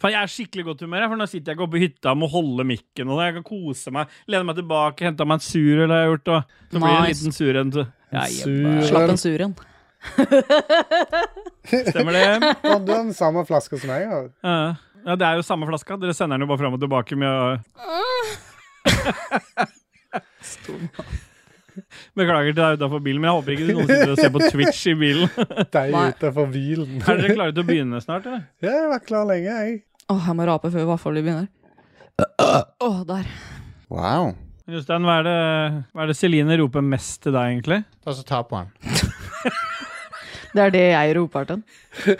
Faen, jeg er skikkelig godt humør, jeg, for nå sitter jeg ikke oppe i hytta og må holde mikken. Og jeg kan kose meg, lene meg tilbake, hente meg en surøl har jeg gjort. Og så blir det en Nice. liten surøl. til- Ja, Surøl. Slapp en suren. Stemmer det? Og du har den samme flaska som jeg har. Ja. Ja, det er jo samme flaska. Dere sender den jo bare fram og tilbake med å Beklager til deg utafor bilen, men jeg håper ikke noen sitter og ser på Twitch i bilen. Deg Nei. utenfor hvilen. Er dere klare til å begynne snart, eller? Ja, jeg var klar lenge, jeg. Åh, jeg må rape før vaffelet begynner. Åh, der. Wow. Jostein, hva er det, hva er det Celine roper mest til deg, egentlig? Ta så ta på den. Det er det jeg roper til.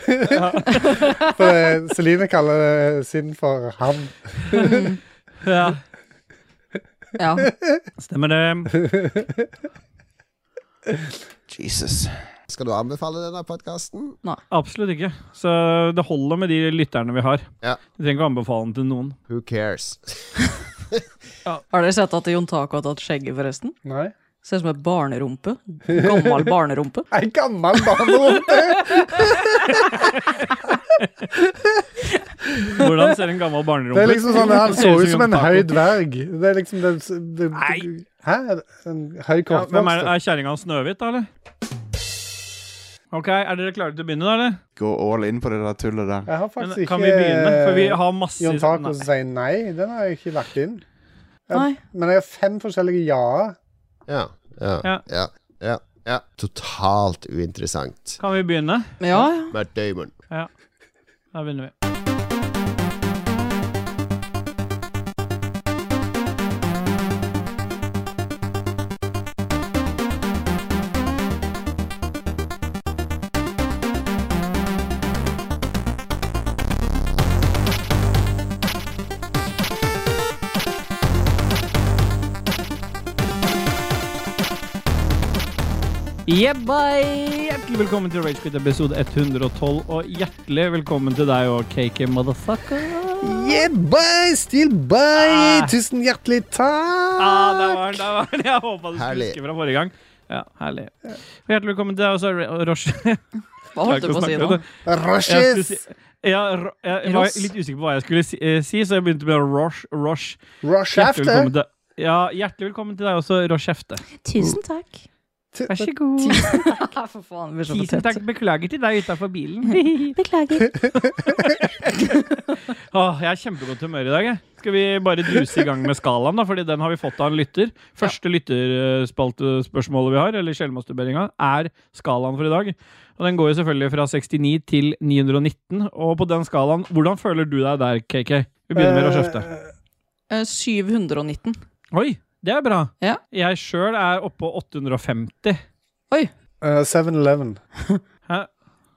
For eh, Celine kaller eh, sin for ham. Ja, Ja. stemmer det. Jesus. Skal du anbefale denne podkasten? Absolutt ikke. Så det holder med de lytterne vi har. Ja. Du trenger ikke å anbefale den til noen. Who cares? Har dere sett at Jon Taco har tatt skjegget, forresten? Nei. Ser ut som en barnerumpe. Gammel barnerumpe. Ei gammel barnerumpe! Hvordan ser en gammel barnerumpe Det er liksom sånn, Han så ut som en høy taco. dverg. Det er liksom det, det, Nei. Hæ? En høy Ja, hvem er, kortvokst? er kjerringa hans Snøhvit, da, eller? Ok, Er dere klare til å begynne, da, eller? Gå all in på det der tullet der. Jeg har Men, faktisk ikke kan vi begynne? For vi har masse Jon Taco som Nei. sier nei. Den har jeg ikke lagt inn. Ja. Nei. Men jeg har fem forskjellige ja-er. Ja. Ja. Ja. Ja. ja. ja. Totalt uinteressant. Kan vi begynne? Men ja, ja. Matt Damon. Da begynner vi. Jebbai! Hjertelig velkommen til Ragequit episode 112, og hjertelig velkommen til deg og KK Motherfucker. Yeah, bye, still bye! Ah. Tusen hjertelig takk! Ah, der var den! der var den. Jeg håpa du skulle Herlig. huske fra forrige gang. Ja, herlig. Og Hjertelig velkommen til deg også, Ra- Rosh. Hva holdt du på å si nå? Jeg, skulle Rushes! si- ja, ro- jeg var Ross. litt usikker på hva jeg skulle si, eh, si så jeg begynte med Rosh. Rosh. Rush Hjertelig after! velkommen til ja, hjertelig velkommen til deg også, Rosh Hefte. Tusen takk. T- Vær så god. For faen, vi er så Tusen takk. potet. Beklager til deg utafor bilen. Beklager. Åh, jeg er kjempegodt humør i dag. Jeg. Skal vi bare duse i gang med skalaen, da? Fordi den har vi fått av en lytter. Første lytterspaltespørsmålet vi har, eller sjelmasturberinga, er skalaen for i dag. Og den går jo selvfølgelig fra 69 til 919. Og på den skalaen, hvordan føler du deg der, KK? Vi begynner med å kjefte. Eh, Eh, 719. Oi, det er bra. Ja. Jeg sjøl er oppå 850. eh, 7-Eleven. Det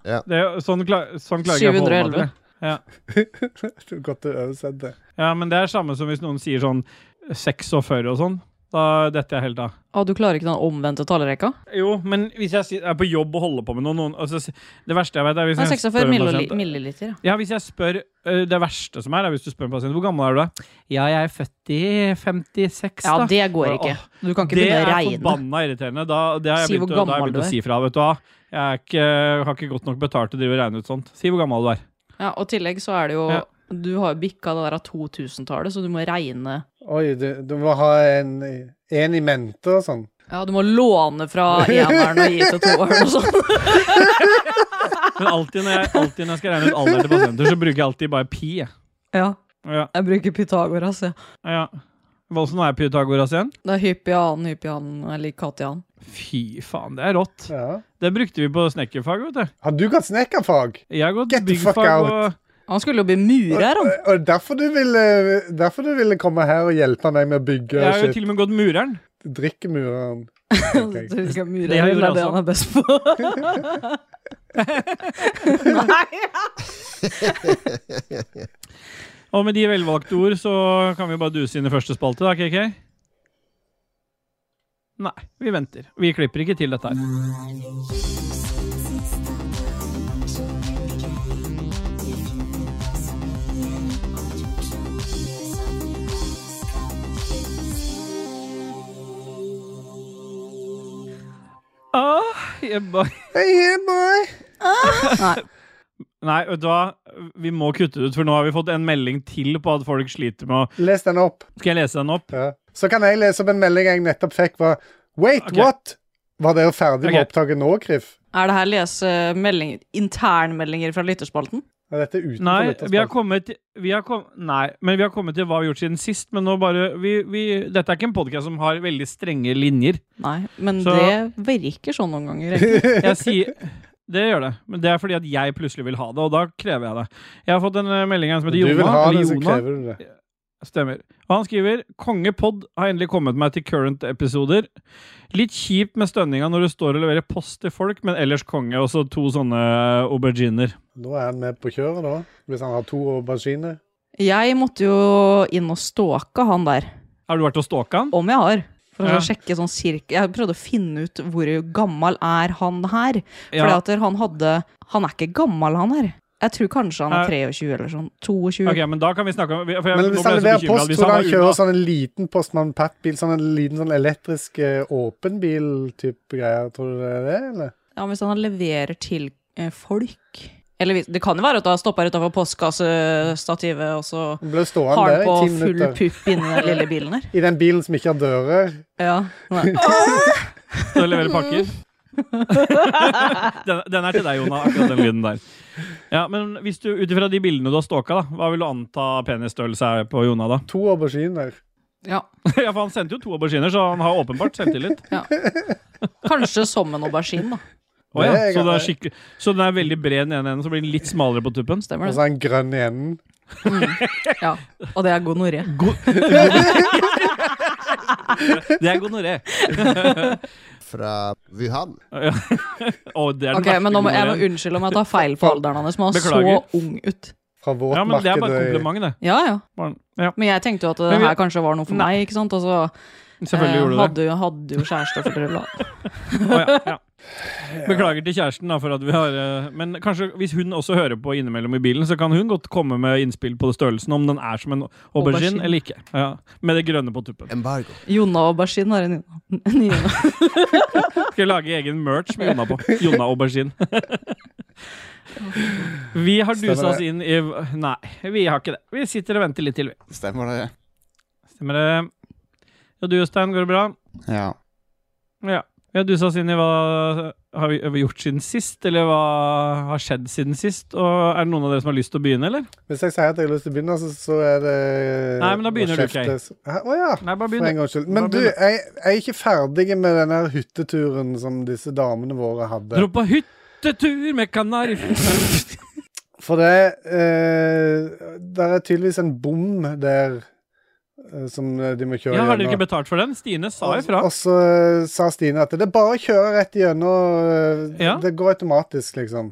er, jo- sånn, kla- sånn klarer jeg ikke å forholde meg til. 711. det. Ja. Du har Godt du oversett det. ja, men det er samme som hvis noen sier sånn 46 og sånn. Da detter jeg helt av. Å, du klarer ikke den omvendte talerekka? Jo, men hvis jeg sier- er på jobb og holder på med noe noen, altså, Det verste jeg vet, er hvis Nei, jeg spør 46 en millili pasient milliliter. ja. Ja, hvis jeg spør ø, Det verste som er, er hvis du spør en pasient hvor gammel er du da? Ja, jeg er født i 56, Ja, da. det går ikke. Åh, Du kan ikke det begynne er å regne. forbanna irriterende. Da, det har jeg Si begynt, hvor å- da har jeg begynt gammel å du er. si fra. Vet du hva? Jeg er ikke, har ikke godt nok betalt til å drive og regne ut sånt. Si hvor gammel du er. Ja, og i tillegg så er det jo Ja. Du har jo bikka det der av 2000-tallet, så du må regne Oi, du, du må ha en, en i mente og sånn. Ja, du må låne fra eneren og gi til toeren og sånn. Men alltid når jeg, alltid når jeg skal regne ut alder til pasienter, så bruker jeg alltid bare pi. jeg. Ja, Ja, jeg bruker Pythagoras, jeg. ja. Åssen er Pythagoras igjen? Det er hyppian, hyppian eller katian. Fy faen, det er rått. Ja. Det brukte vi på snekkerfag, vet du. Har du gått snekkerfag? Jeg har gått Get the fuck byggfag out. og Han skulle jo bli murer, han. Og derfor du, ville, derfor du ville komme her og hjelpe meg med å bygge Jeg har jo og shit. til og med gått mureren. Drikkemureren. Så du skal mure, Det det har jeg er gjort det også. han er best på. Nei! Og med de velvalgte ord så kan vi bare duse inn i første spalte, da, KK? Nei, vi venter. Vi klipper ikke til dette her. Ah, jeg bare Hey, hey, boy! Nei. Nei, vet du hva? vi må kutte det ut, for nå har vi fått en melding til på at folk sliter med å Les den opp. Skal jeg lese den opp? Ja. Så kan jeg lese opp en melding jeg nettopp fikk, var Wait, Ok. what? Var dere ferdig med Ok. opptaket nå, Kriff? Er det her lese meldinger, internmeldinger fra lytterspalten? Er dette utenfor Nei, lytterspalten? vi har kommet vi har kom, Nei, men vi har kommet til hva vi har gjort siden sist. Men nå bare vi, vi, Dette er ikke en podkast som har veldig strenge linjer. Nei, men Så- det virker sånn noen ganger. egentlig. Jeg sier det gjør det, men det er fordi at jeg plutselig vil ha det, og da krever jeg det. Jeg har fått en eh, melding her som heter Du vil Jona. ha det, eller så Jona. krever du det. Stemmer. Og han skriver Kongepod har endelig kommet meg til current-episoder. Litt kjipt med stønninga når du står og leverer post til folk, men ellers konge. Og så to sånne eh, auberginer. Nå er han med på kjøret, da. Hvis han har to auberginer. Jeg måtte jo inn og stalke han der, Har du vært og stalka han? om jeg har. For å Ja. sjekke sånn cirka Jeg prøvde å finne ut hvor gammel er han her. Fordi at han hadde Han er ikke gammel, han her. Jeg tror kanskje han er 23 eller sånn. 22. Ok, men da kan vi snakke om for jeg, Men nå hvis ble han jeg så leverer bekymret. post, Hvis tror han jeg han var kjører unna- sånn en liten postmann Pat-bil, sånn en liten sånn elektrisk eh, åpen bil-type greier. Tror du det er det, eller? Ja, men Hvis han leverer til eh, folk Eller hvis- det kan jo være at han stoppa utafor postkassestativet, og så Han ble stående har han der i på ti full minutter. pupp inni den lille bilen her. I den bilen som ikke har dører. Ja. Nei. til å levere pakker. den, den er til deg, Jona, akkurat den lyden der. Ja, men hvis du, Ut ifra de bildene du har stalka, da, hva vil du anta penisstørrelse er på Jona? da? To auberginer. Ja. ja, for Han sendte jo to auberginer, så han har åpenbart selvtillit. Kanskje som en aubergine, da. Å ja, Det er så, det er greit. skikke- så den er veldig bred i den ene enden, så blir den litt smalere på tuppen? Stemmer Og det? så er han grønn i enden. Ja. Og det er gonoré. Det er gonoré. fra Wuhan. Å, det er den Ok, men nå må, jeg må gonorréen. unnskylde om jeg tar feil på alderen hans, men han Beklager. så ung ut. Fra Ja, men Det er bare et våtmarkedet. i- kompliment, det. Ja, ja. Bare- Ja, Men jeg tenkte jo at det Men vi- her kanskje var noe for meg, ikke sant? Og så selvfølgelig eh, gjorde du det. hadde, jo- hadde jo kjæreste for trulla. Å, ja, ja. Beklager til kjæresten, da, for at vi har eh, Men kanskje hvis hun også hører på innimellom i bilen, så kan hun godt komme med innspill på størrelsen, om den er som en aubergine Aubergine. eller ikke. Ja, med det grønne på tuppen. Embargo. Jonna Aubergine har en nye. Skal jeg lage egen merch med Jonna på. Jonna aubergine. Vi har Stemmer dusa oss det. inn i Nei, vi har ikke det. Vi sitter og venter litt til, vi. Stemmer det? Stemmer det? Ja, du Jostein, går det bra? Ja. Ja. Vi har dusa oss inn i hva har vi har vi gjort siden sist, eller hva har skjedd siden sist? Og er det noen av dere som har lyst til å begynne, eller? Hvis jeg sier at jeg har lyst til å begynne, så, så er det Nei, men da begynner du, Kay. Kjeftes- Hæ? Å ja. Nei, bare For en begynn. gangs skyld. Da Men du, begynner- jeg, jeg er ikke ferdig med den her hytteturen som disse damene våre hadde. Dro på hyttetur med kanari... For det eh, Der er tydeligvis en bom der eh, som de må kjøre Ja, har dere ikke betalt for den? Stine sa ifra. Og, og så eh, sa Stine at det er bare å kjøre rett igjennom. eh, Ja. Det går automatisk, liksom.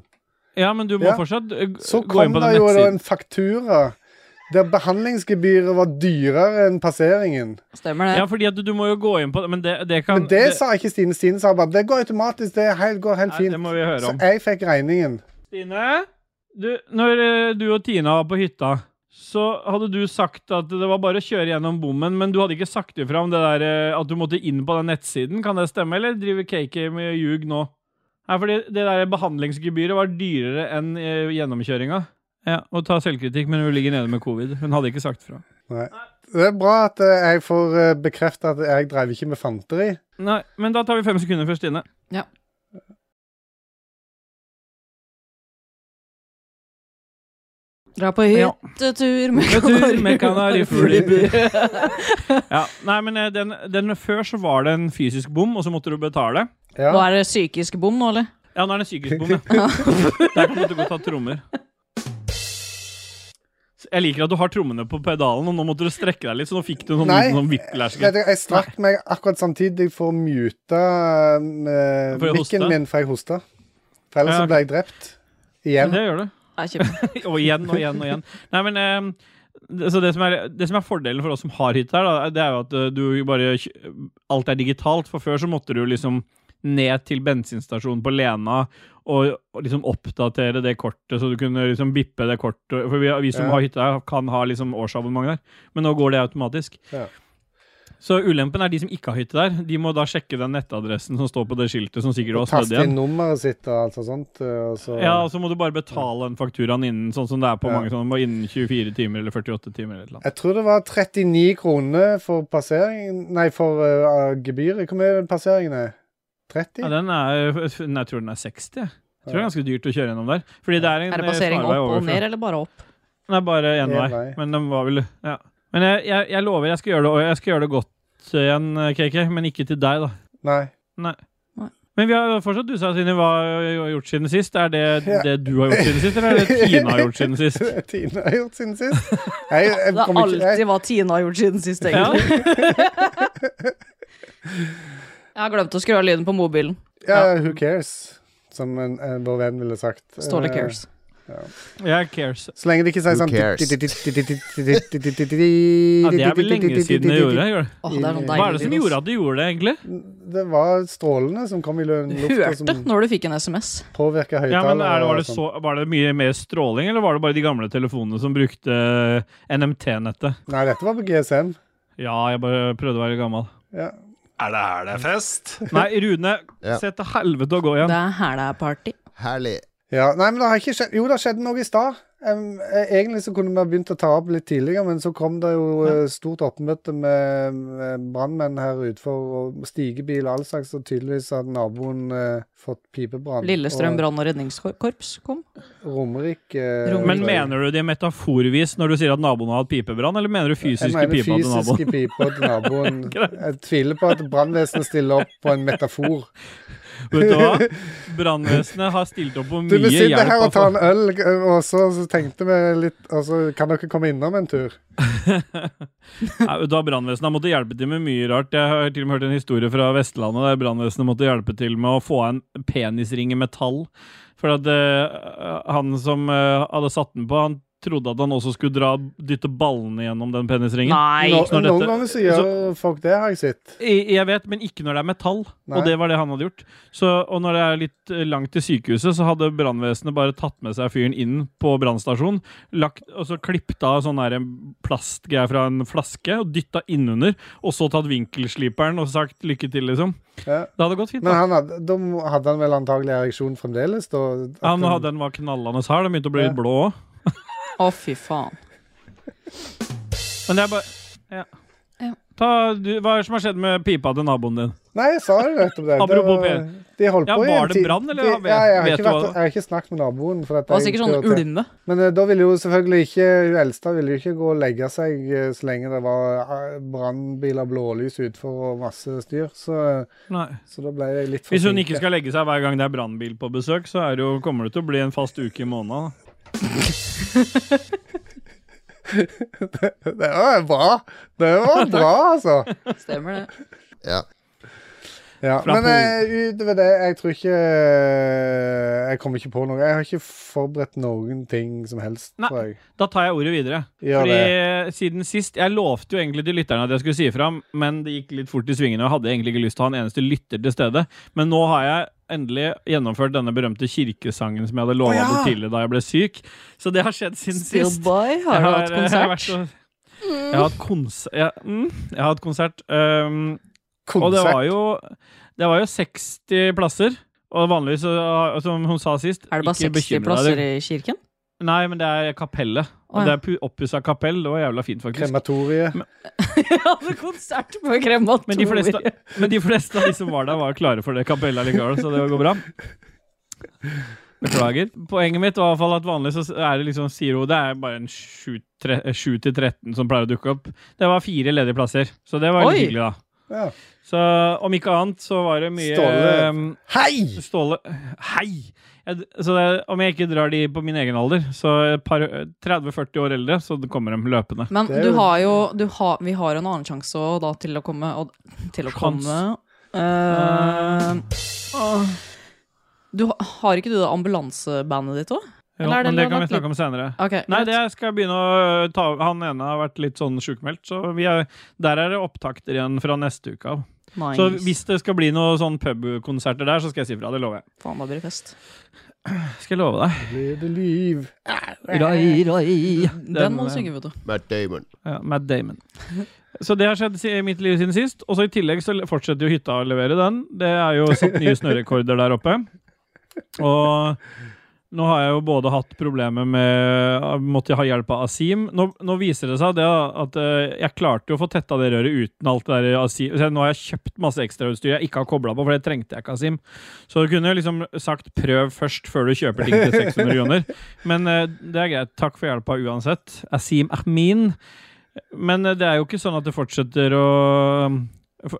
Ja, men du må Ja. fortsatt eh, g- Så gå inn kom på det den jo da nettsiden. en faktura der behandlingsgebyret var dyrere enn passeringen. Stemmer det? Ja, fordi at du, du må jo gå inn på Men det, det kan Men det, sa ikke Stine. Stine sa bare det går automatisk, det er helt, går helt Nei, det fint. må vi høre Så om. jeg fikk regningen. Stine, du, når eh, du og Tina var på hytta, så hadde du sagt at det var bare å kjøre gjennom bommen, men du hadde ikke sagt ifra om det der eh, at du måtte inn på den nettsiden. Kan det stemme, eller driver KK med ljug nå? Nei, fordi det der behandlingsgebyret var dyrere enn eh, gjennomkjøringa. Ja, og ta selvkritikk, men hun ligger nede med covid. Hun hadde ikke sagt fra. Nei. Det er bra at eh, jeg får eh, bekreftet at jeg drev ikke med fanteri. Nei, men da tar vi fem sekunder først, Stine. Dra på Ja. hyttetur med Hyttetur med kanarifugl i bur. Nå Ja, nei, men eh, den, den Før så var det en fysisk bom, og så måtte du betale. Ja. er det psykisk bom nå, eller? Ja, nå er det en psykisk bom, ja. Der kan du godt ta trommer. Jeg liker at du har trommene på pedalen, og nå måtte du strekke deg litt, så nå fikk du en sånn Nei. liten sånn Vet whiplash. du, jeg strakk meg akkurat samtidig for å mute eh, For å hoste? mikken min, for jeg hosta. For ellers Ja, så ble jeg drept. Igjen. Det gjør du. Nei, kjempe. Og igjen og igjen og igjen. Nei, men eh, det- så det som, er, det som er fordelen for oss som har hytte her, da, det er jo at eh, du bare kj- Alt er digitalt. For før så måtte du liksom ned til bensinstasjonen på Lena og, og liksom oppdatere det kortet, så du kunne liksom bippe det kortet. For vi, vi som Ja. har hytte her, kan ha liksom årsabonnement der, men nå går det automatisk. Ja. Så ulempen er de som ikke har hytte der. De må da sjekke den nettadressen som står på det skiltet, som sikkert var snødd Taste inn igjen. nummeret sitt og alt sånt. eh, Og så, Ja, altså. og så må du bare betale den fakturaen innen sånn som det er på Ja. mange sånne, må innen 24 timer eller 48 timer eller noe. Jeg tror det var 39 kroner for passeringen Nei, for eh, gebyret. Hvor mye er passeringen? er? 30? Ja, den er, nei, jeg tror den er 60. Jeg Jeg tror det er ganske dyrt å kjøre gjennom der. Fordi det er en Er det eh, basering snarvei opp og overfra. ned, eller bare opp? Nei, bare én En vei. vei. Men den var vel Ja. Men jeg, jeg, jeg lover, jeg skal gjøre det, og jeg skal gjøre det godt igjen, KK. Men ikke til deg, da. Nei. Men vi har fortsatt dusa oss inn i hva vi har gjort siden sist. Er det Ja. det du har gjort siden sist, eller er det Tina har gjort siden sist? Tine har gjort siden sist. Jeg, jeg, Det er kom ikke, jeg, alltid hva Tina har gjort siden sist, Ja. egentlig. Jeg har glemt å skru av lyden på mobilen. ja, who cares? Som en, en, vår venn ville sagt. Ståle Eh, cares. Jeg cares. Så lenge det ikke sier Who sånn cares? Ja, Ja, det er vel lenge siden jeg gjorde det. Åh, det er sånn deilig Hva er det som lyd, ass. gjorde at du gjorde det, egentlig? Det var strålene som kom i lø- lufta, Hørte som når du fikk en SMS. påvirka Ja, men er det, var, høyttalere. og det sånn. så, var det mye mer stråling, eller var det bare de gamle telefonene som brukte eh, NMT-nettet? Nei, dette var på GSM. Ja, jeg bare prøvde å være gammel. Ja. Er det, er det fest? Nei, Rune, Ja. se til helvete og gå igjen. Det er her det er party. Herlig. Ja, nei, men det har ikke skjedd Jo, det skjedde noe i stad. Em, eh, Egentlig så kunne vi ha begynt å ta opp litt tidligere, men så kom det jo eh, stort oppmøte med, med brannmenn her utenfor, og stigebil og all slags, og tydeligvis hadde naboen eh, fått pipebrann. Lillestrøm brann- og redningskorps kom. Og Romerike eh, Romerike. Men mener du det metaforvis når du sier at naboen har hatt pipebrann, eller mener du Jeg fysiske mener pipa til naboen? fysiske piper til naboen. Greit. Jeg tviler på at brannvesenet stiller opp på en metafor. Vet du hva? Brannvesenet har stilt opp på Du, vi mye hjelp. sitter her og altså. tar en øl, eh, og så, så tenkte vi litt Og så kan dere komme innom en tur? Nei, vet du hva, Brannvesenet har måttet hjelpe til med mye rart. Jeg har til og med hørt en historie fra Vestlandet der brannvesenet måtte hjelpe til med å få av en penisring i metall. For at eh, han som eh, hadde satt den på, han trodde at han også skulle dra, dytte ballene gjennom den penisringen. Nei! Nå, når noen dette- ganger så gjør folk det, har jeg sett. I- Jeg vet, men ikke når det er metall. Nei. Og det var det han hadde gjort. Så, og når det er litt eh, langt til sykehuset, så hadde brannvesenet bare tatt med seg fyren inn på brannstasjonen, lagt- og så klippet av sånn der en plastgreie fra en flaske og dytta innunder, og så tatt vinkelsliperen og sagt lykke til, liksom. Ja. Det hadde gått fint. Men da. han hadde, da må- hadde han vel antagelig ereksjon fremdeles? Da, at Han hadde den var knallende hard. Den begynte å bli Ja. litt blå òg. Å, fy faen. Men det er bare ja. Ja. Ta, du, hva er det som har skjedd med pipa til naboen din? Nei, jeg sa jo nettopp det. det Apropos var- P1. De holdt Ja, på i var en det tid. brann, eller De- har- Ja, jeg, har vet ikke du vært, hva- jeg har ikke snakket med naboen. For at Det var jeg sikkert sånn prioriterte- ulme. Men eh, da ville jo selvfølgelig ikke hun eldste ville jo ikke gå og legge seg eh, så lenge det var eh, brannbiler, blålys utfor og masse styr. Så, eh, Nei. så da ble jeg litt Hvis hun forsinket. ikke skal legge seg hver gang det er brannbil på besøk, så er det jo, kommer det til å bli en fast uke i måneden. da. Det var bra! Det var bra, altså. Stemmer det. Ja. Ja, Fra men Polen. eh, utover det, jeg tror ikke eh, Jeg kommer ikke på noe. Jeg har ikke forberedt noen ting som helst, Nei. tror jeg. Da tar jeg ordet videre. Gjør Fordi siden sist, Jeg lovte jo egentlig til lytterne at jeg skulle si ifra, men det gikk litt fort i svingene. og Jeg hadde egentlig ikke lyst til å ha en eneste lytter til stede. Men nå har jeg endelig gjennomført denne berømte kirkesangen som jeg hadde lova Å, ja! bort tidlig da jeg ble syk. Så det har skjedd siden sist. Steelboy, har Jeg du hatt har konsert? vært og- Jeg har hatt konsert. Jeg, mm, jeg har hatt konsert. Um, og det var, jo, det var jo 60 plasser. Og vanligvis, så- som hun sa sist Er det bare ikke 60 bekymre deg. plasser i kirken? Nei, men det er kapellet. Å, Og ja. det er oppussa kapell. Det var jævla fint, faktisk. Krematoriet. Jeg hadde konsert på krematoriet. Men de, fleste, men de fleste av de som var der, var klare for det kapellet likevel, så det går bra. Beklager. Poenget mitt var i hvert fall at vanlig så er det liksom sier hun, Det er bare en 7-13 som pleier å dukke opp. Det var fire ledige plasser, så det var Oi. litt hyggelig, da. Ja. Så om ikke annet, så var det mye Ståle. um, Hei! Ståle Hei! Jeg, så det, om jeg ikke drar de på min egen alder, så et par- 30-40 år eldre, så kommer de løpende. Men Det er du jo- har jo du har, Vi har jo en annen sjanse også, da, til å komme og, Til å Sjans. komme Eh, du, ha- Har ikke du det ambulansebandet ditt òg? Jo, Eller er det men det kan vi lagt litt- snakke om senere. Nei, det skal jeg begynne å øh, ta Han ene har vært litt sånn sjukmeldt, så vi er, der er det opptakter igjen fra neste uke av. nice. Så hvis det skal bli noen sånn pubkonserter der, så skal jeg si fra. Det lover jeg. Faen, da blir det fest. Skal jeg love deg. Blir det liv? Rai, rai. Den må du eh, synge, vet du. Matt Damon. Ja, Matt Damon. Så det har skjedd si- i mitt liv siden sist. Og så i tillegg så fortsetter jo hytta å levere den. Det er jo satt nye snørekorder der oppe. Og nå har jeg jo både hatt problemer med Måtte jeg ha hjelp av Asim. Nå, nå viser det seg det at eh, jeg klarte jo å få tetta det røret uten alt det der Asim. Så nå har jeg kjøpt masse ekstrautstyr jeg ikke har kobla på, for det trengte jeg ikke Asim. Så du kunne jo liksom sagt 'prøv først' før du kjøper ting til 600 kroner. Men eh, det er greit. Takk for hjelpa uansett. Asim Ahmin. Men eh, det er jo ikke sånn at det fortsetter å um,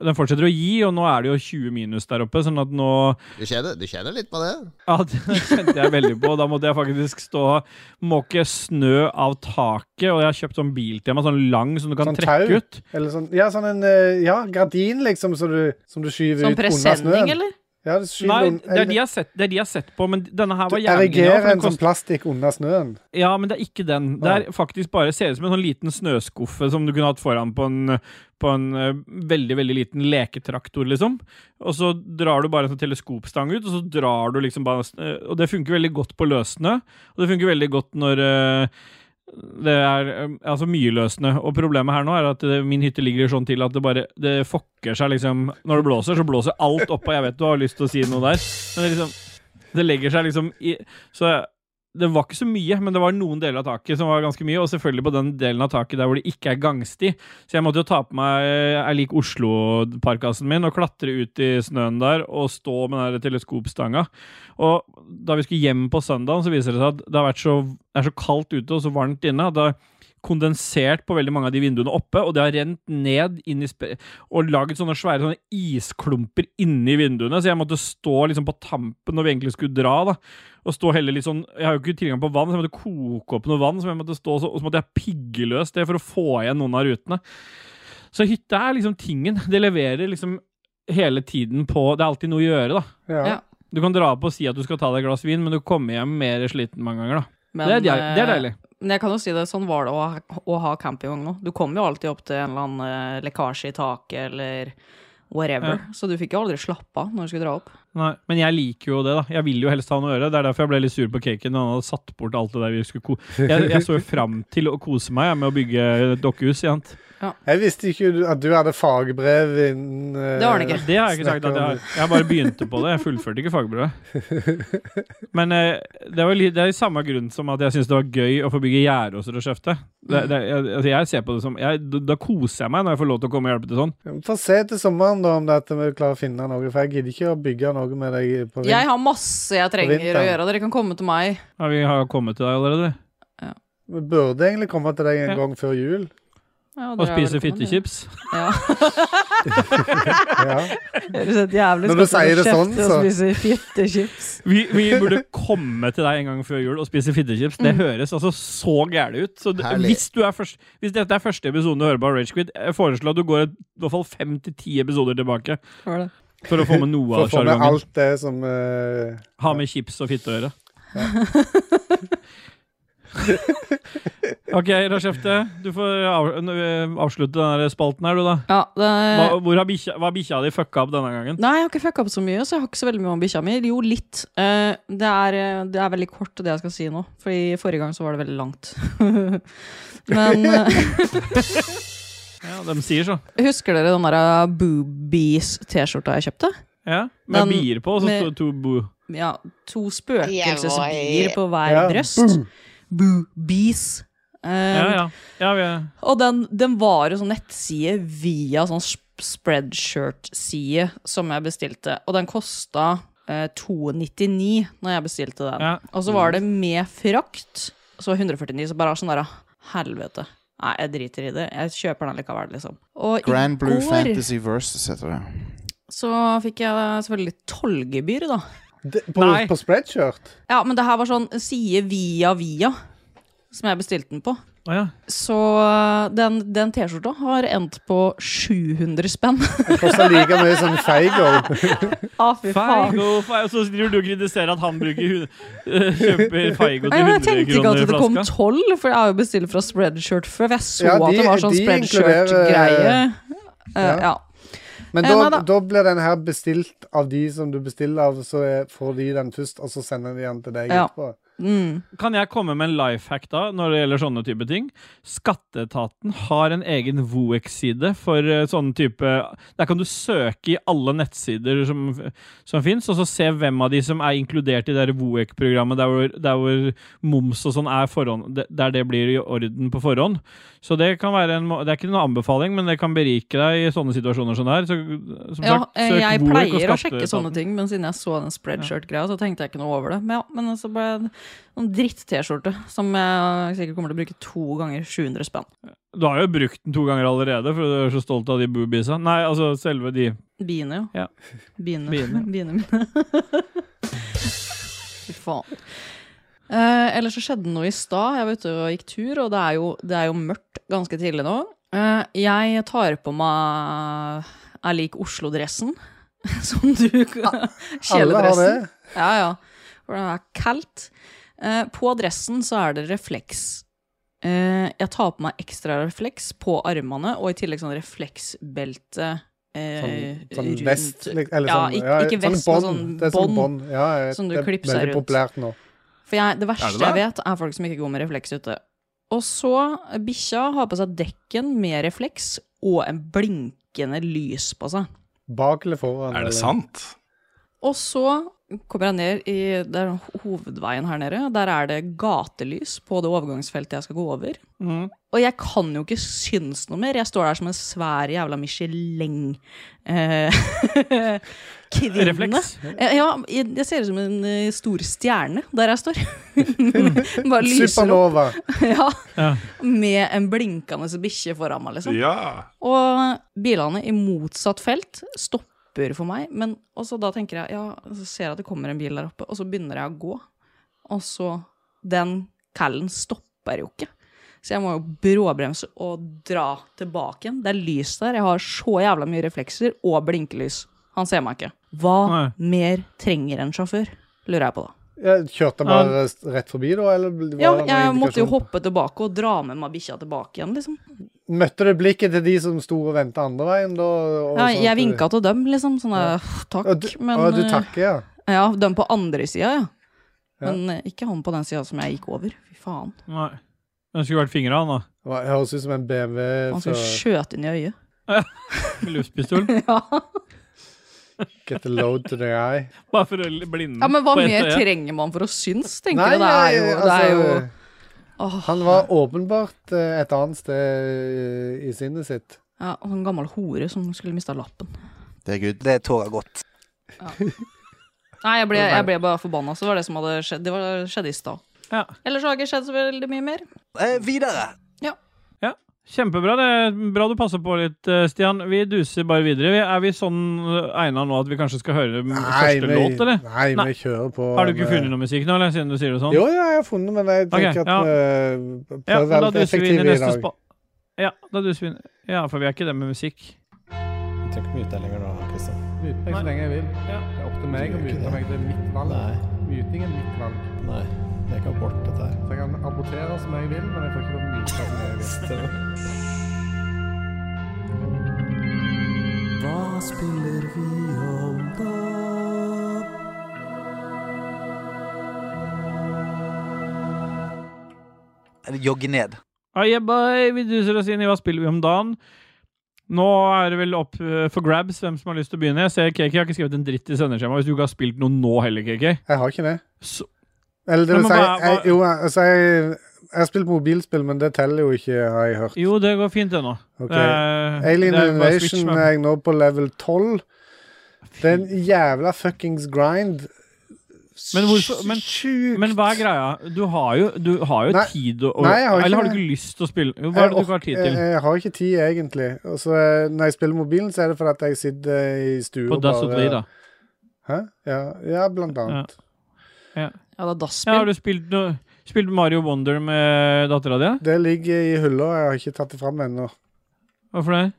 den fortsetter å gi, og nå er det jo 20 minus der oppe, sånn at nå Du kjenner, du kjenner litt på det? ja, det kjente jeg veldig på. Da måtte jeg faktisk stå og måke snø av taket. Og jeg har kjøpt sånn bil til meg, sånn lang som du kan Sånn tau? trekke ut. Eller sånn Ja, sånn en eh, Ja, gardin, liksom, som du, som du skyver Sånn ut under presenning, snøen. eller? Ja, du skyver Nei, un- det er, de jeg har sett, det er de jeg har sett på, men denne her Du var jævlig genial. erigerer for den en sånn kost- plastikk under snøen. Ja, men det er ikke den. Det er faktisk bare ser ut som en sånn liten snøskuffe som du kunne hatt foran på en, på en eh, veldig, veldig liten leketraktor, liksom. Og så drar du bare en sånn teleskopstang ut, og så drar du liksom bare eh, Og det funker veldig godt på løssnø, og det funker veldig godt når eh, det er eh, altså mye løssnø, og problemet her nå er at eh, min hytte ligger sånn til at det bare det fokker seg, liksom. Når det blåser, så blåser alt oppå. Jeg vet du har lyst til å si noe der, men det liksom Det legger seg liksom i Så jeg- det var ikke så mye, men det var noen deler av taket som var ganske mye, og selvfølgelig på den delen av taket der hvor det ikke er gangsti. Så jeg måtte jo ta på meg ei lik Oslo-parkasen min og klatre ut i snøen der og stå med den der teleskopstanga. Og da vi skulle hjem på søndagen, så viser det seg at det har vært så, det er så kaldt ute og så varmt inne at det har kondensert på veldig mange av de vinduene oppe, og det har rent ned inn i spe og laget sånne svære sånne isklumper inni vinduene, så jeg måtte stå liksom på tampen når vi egentlig skulle dra, da og stå og helle litt sånn Jeg har jo ikke tilgang på vann, så jeg måtte koke opp noe vann. Så jeg måtte stå så, og så måtte jeg pigge løs det for å få igjen noen av rutene. Så hytta er liksom tingen. Det leverer liksom hele tiden på Det er alltid noe å gjøre, da. Ja. Ja. Du kan dra opp og si at du skal ta deg et glass vin, men du kommer hjem mer sliten mange ganger, da. Men, det, er, deil- det er eh, deilig. Men jeg kan jo si det, sånn var det å, ha- å ha campingvogn nå. Du kom jo alltid opp til en eller annen eh, lekkasje i taket eller whatever. Så du fikk jo aldri slappe av når du skulle dra opp. Nei, men jeg liker jo det, da. Jeg vil jo helst ha noe å gjøre. Det er derfor jeg ble litt sur på caken når han hadde satt bort alt det der vi skulle ko... Jeg, jeg så jo fram til å kose meg jeg, med å bygge et dokkehus. ikke sant? Jeg visste ikke du- at du hadde fagbrev innen eh, Det har han ikke. Det har jeg ikke sagt Snakker at jeg om har. Jeg bare begynte på det. Jeg fullførte ikke fagbrevet. Men eh, det, var li det er i samme grunn som at jeg syns det var gøy å få bygge gjerde hos Rochefte. Det, Mm. det, jeg, altså jeg ser på det som jeg, da- Da koser jeg meg når jeg får lov til å komme og hjelpe til sånn. Få se til sommeren da om dette vi klarer å finne noe, for jeg gidder ikke å bygge noe med deg på Jeg vinteren. har masse jeg trenger å vinteren. gjøre. Dere kan komme til meg. Ja, vi har kommet til deg allerede. Vi burde egentlig komme til deg en Ja. gang før jul. Ja, Og dere er spise velkommen, fittechips. Ja. Ja. Høres helt jævlig Når du sier det sånn, så- spise fittechips. Vi, vi burde komme til deg en gang før jul og spise fittechips. Mm. Det høres altså så gærent ut. Så det, Herlig. hvis, du er først, hvis dette er første episoden du hører på av Ragequid, jeg foreslår at du går et, i hvert fall fem til ti episoder tilbake for å få med noe For å av få med sjargongen. alt det som eh, Ha med chips og fitte å gjøre. ok, Rashefte. Du får av, n- eh, avslutte denne spalten her, du, da. Ja, det... Hva, hvor har bikkja, hva har bikkja di fucka opp denne gangen? Nei, jeg har ikke fucka opp så mye, så jeg har ikke så veldig mye om bikkja mi. Jo, litt. Eh, det, er, eh, det er veldig kort, det jeg skal si nå. Fordi forrige gang så var det veldig langt. Men eh, Ja, De sier så. husker dere den der Boobies-T-skjorta jeg kjøpte? Ja, Med Den- bier på, og så med- sto to bo. Ja, to spøkelsesbier på hver Ja, brøst. Boobies. Eh, Ja, ja. ja vi, Og den, den var jo sånn nettside via sånn sp- spreadshirt-side som jeg bestilte. Og den kosta eh, 299 når jeg bestilte den. ja. Og så var det med frakt. Så 149, så bare sånn der Helvete. Nei, jeg driter i det. Jeg kjøper den likevel, liksom. Og Grand i Blue går Fantasy Versus heter det. så fikk jeg selvfølgelig tollgebyr, da. det, på, Nei. på spreadshirt. Ja, men det her var sånn side via via, som jeg bestilte den på. Å, ja. Så eh, den, den T-skjorta har endt på 700 spenn. Det koster like mye som Feigo. Å, fy faen. Feigo, feigo. Så driver du og kritiserer at han bruker hun, eh, kjøper Feigo til Nei, 100 men jeg tenkte ikke kroner at i det kom flaska. tolv, for jeg har jo bestilt fra Spreadshirt før. for Jeg så Ja, at de- det var sånn de inkluderer- Spreadshirt-greie. Eh, Ja. ja. Men Eh, da, nei da. da blir den her bestilt av de som du bestiller av, så er- får de den først, og så sender de den til deg Ja. etterpå. Mm. Kan jeg komme med en life hack da, når det gjelder sånne type ting? Skatteetaten har en egen Voex-side for eh, sånne type Der kan du søke i alle nettsider som, som fins, og så se hvem av de som er inkludert i det der Voex-programmet der, hvor- der hvor moms og sånn er forhånd, de- der det blir i orden på forhånd. Så det kan være en må- Det er ikke noen anbefaling, men det kan berike deg i sånne situasjoner som det her. Så, som Ja, sagt, eh, søk jeg Voex og pleier å sjekke skatteetaten. sånne ting, men siden jeg så den spreadshirt-greia, så tenkte jeg ikke noe over det. Men ja, men så ble det en dritt-T-skjorte som jeg sikkert kommer til å bruke to ganger 700 spenn. Du har jo brukt den to ganger allerede, for du er så stolt av de boobiesa. Nei, altså selve de Biene, jo. Ja. Biene. Biene. Biene. mine. Fy faen. Eh, eller så skjedde det noe i stad. Jeg var ute og gikk tur, og det er jo, det er jo mørkt ganske tidlig nå. Eh, jeg tar på meg Jeg liker Oslo-dressen, som du Alle har det. Kjeledressen. Ja, ja. For det er kaldt. Eh, på dressen så er det refleks. Eh, jeg tar på meg ekstra refleks på armene, og i tillegg sånn refleksbelte eh, Sånn, sånn rundt- vest lik- eller ja, sånn, ikke- ja, ikke sånn vest, men bånd. sånn Det er sånn bånd bånd. Ja, jeg- som du det er klipser veldig rundt. populært nå. For jeg, det verste Er det det? jeg vet, er folk som ikke går med refleks ute. Og så eh, bikkja har på seg dekken med refleks og en blinkende lys på seg. Bak eller foran. Er eller- det sant? Og så kommer jeg ned i det er hovedveien her nede. Der er det gatelys på det overgangsfeltet jeg skal gå over. Og jeg kan jo ikke synes noe mer. Jeg står der som en svær jævla Michelin-kvinne. refleks. Ja, jeg jeg ser ut som en eh, stor stjerne der jeg står. Bare lyser opp. Supernova. Ja, Ja. med en blinkende bikkje foran meg, liksom. Ja. Og bilene i motsatt felt stopper for meg. Men også da tenker jeg, ja, så ser jeg at det kommer en bil der oppe, og så begynner jeg å gå. Og så Den callen stopper jo ikke. Så jeg må jo bråbremse og dra tilbake igjen. Det er lys der. Jeg har så jævla mye reflekser og blinkelys. Han ser meg ikke. Hva mer trenger en sjåfør? Lurer jeg på da. Ja, kjørte han bare st- rett forbi, da? Eller var det Ja, noen jeg måtte jo indikasjon? hoppe tilbake og dra med meg bikkja tilbake igjen, liksom. Møtte du blikket til de som sto og venta andre veien, da? og Ja, sånn jeg at du- vinka til dem, liksom. Sånn Ja. «Åh, takk, Og du, men og du eh, takker, ja. Ja, dem på andre sida, ja. Ja. Men eh, ikke han på den sida som jeg gikk over. Fy faen. Nei. Den skulle vært fingra, han da. Det var- Høres ut som en BMW Han fra skulle skjøte inn i øyet. Med luftpistol. Ja, Get a load to the eye. Bare for å blinde men hva på ett mer øye. trenger man for å syns, tenker jeg. Det er jo, det er jo altså, Åh. Han var åpenbart eh, et annet sted eh, i sinnet sitt. ja, og en gammel hore som skulle mista lappen. Det er good. Det tåler godt. Nei, jeg ble, jeg ble bare forbanna, så det var det som hadde skjedd. Det var, skjedde i stad. Ja. Ellers har det ikke skjedd så veldig mye mer. Eh, videre. Kjempebra. det er Bra du passer på litt, eh, Stian. Vi duser bare videre. Vi- Er vi sånn egna nå at vi kanskje skal høre m- første vi, låt, eller? nei, Nei. vi kjører på eh, Har du ikke med- funnet noe musikk nå, eller? Siden du sier det sånn? Jo, ja, jeg har funnet, men jeg tenker Ok, at ja. vi ja, prøver men å da være litt duser vi inn i effektive i neste dag. spa... Ja, da duser vi inn Ja, for vi er ikke det med musikk. Jeg trenger ikke mute deg lenger nå, Kristian. Myte meg Nei. så lenge jeg vil. Ja. Det er opp til Du meg å gjør ikke myte det. meg. Det er mitt valg. Nei, Myting er mitt valg. nei. Det er ikke abort, dette her. Så jeg kan abortere som jeg vil, men jeg får ikke lov å myte som jeg vil. Hva spiller vi om da? Eller jogge ned. Ah, yeah, boy. Vi duser oss inn i Hva spiller vi om dagen? Nå er det vel opp eh, for grabs hvem som har lyst til å begynne. Jeg ser KK har ikke skrevet en dritt i sendeskjemaet hvis du ikke har spilt noe nå heller, KK. Jeg har ikke det. Så, Eller det Nei, vil men si, hva- hva- jeg, jo, altså jeg, jeg har spilt mobilspill, men det teller jo ikke, har jeg hørt. jo, det går fint, det nå. Ok. Eh, Alien det er bare å switche Invasion med- er jeg nå på level 12. Det er en jævla fuckings grind. Men hvorfor- men- Sjukt! Men hva er greia? Du har jo, du har jo Nei. tid å Nei, jeg har ikke Eller har du det. ikke lyst til å spille? Jo, Hva er det du Jeg ikke har ork- tid til? Eh, Jeg, jeg har ikke tid, egentlig. Og så eh, når jeg spiller mobilen, så er det fordi at jeg sitter eh, i stua På Dass og Dri, da. Hæ? Ja, ja blant annet. Ja, det er Ja, har dasspill. du spilt, noe, spilt Mario Wonder med dattera di? Det ligger i hylla, jeg har ikke tatt det fram ennå. Hvorfor det?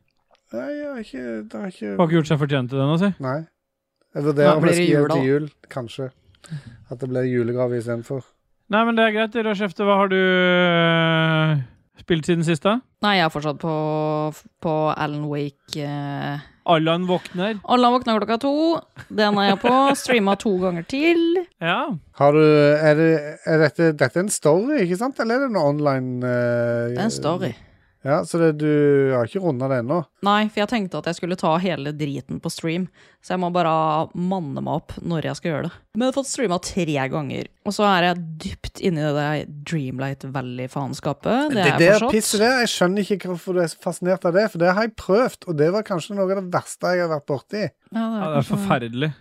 Nei, jeg har ikke, det har ikke Hun har ikke gjort seg fortjent til den, altså? Nei. Jeg Da vurderer om blir jeg det skal gi jul, det da. til jul, kanskje. At det blir julegave istedenfor. Nei, men det er greit. Rødskjefte, hva har du øh, spilt siden sist, da? Nei, jeg er fortsatt på, på Alan Wake eh, Allan våkner. Alle våkna klokka to. Den er jeg på. Streama to ganger til. Ja. Har du, er, det, er dette, dette er en story, ikke sant? Eller er det noe online eh, Det er en story. Ja, Så det, du har ikke runda det ennå? Nei, for jeg tenkte at jeg skulle ta hele driten på stream. Så jeg må bare manne meg opp når jeg skal gjøre det. Men jeg har fått streama tre ganger. Og så er jeg dypt inni det der Dreamlight Valley-faenskapet. Det Det er der forstått. pisset der, jeg skjønner ikke hvorfor du er så fascinert av det, for det har jeg prøvd, og det var kanskje noe av det verste jeg har vært borti. Ja, det ja, er det er kanskje- forferdelig.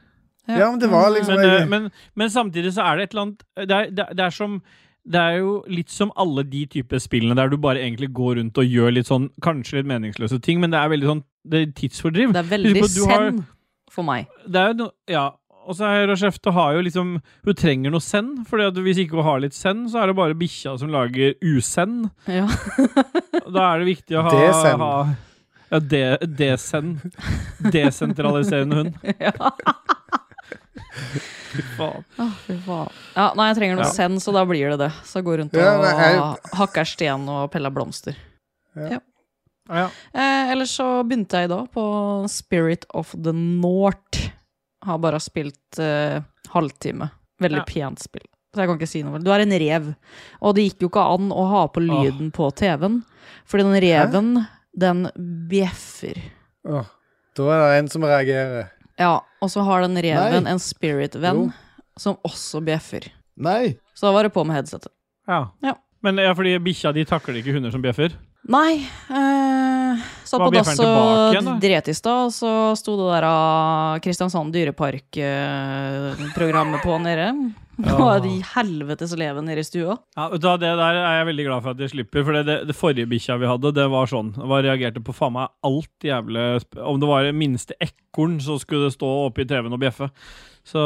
Ja. Ja, men det var liksom Men, eh, men, men samtidig så er det et eller annet Det er, det, er- det er som det er jo litt som alle de typer spillene der du bare egentlig går rundt og gjør litt sånn kanskje litt meningsløse ting, men det er veldig sånn det er tidsfordriv. Det er veldig Husk på, du har- zen for meg. det er jo no, ja. Og så er Rashefte har jo liksom Hun trenger noe send, Fordi at hvis ikke hun har litt send, så er det bare bikkja som lager usend. Ja. Da er det viktig å ha Desend. ha, ja, de- desend. Desentraliserende hund. ja. Fy faen. Å, fy faen. Ja, nei, jeg trenger noe Ja. send, så da blir det det. Så gå rundt og Ja, nei, hakker sten og peller blomster. Ja. Ja. Eh, ellers så begynte jeg i dag på Spirit of the North. Har bare spilt eh, halvtime. Veldig Ja. pent spill. Så jeg kan ikke si noe. vel. Du er en rev. Og det gikk jo ikke an å ha på lyden på TV-en, fordi den reven, den bjeffer. Åh, Da er det en som reagerer. Ja, og så har den reven Nei. en spirit-venn som også bjeffer. Nei! Så da var det på med headsetet. Ja. Ja. Men ja, fordi bikkja di takler ikke hunder som bjeffer? Nei. Eh, satt Hva på blir dass ferden tilbake igjen, da? og dret i stad, og så sto det der av Kristiansand Dyrepark-programmet på nede. Ja. Og de helvetes leven nede i stua. Ja, vet du, hva, Det der er jeg veldig glad for at jeg slipper. For det, det, det forrige bikkja vi hadde, det var sånn. Det var reagerte på faen meg alt jævlig sp- Om det var det minste ekorn, så skulle det stå oppe i TV-en og bjeffe. Så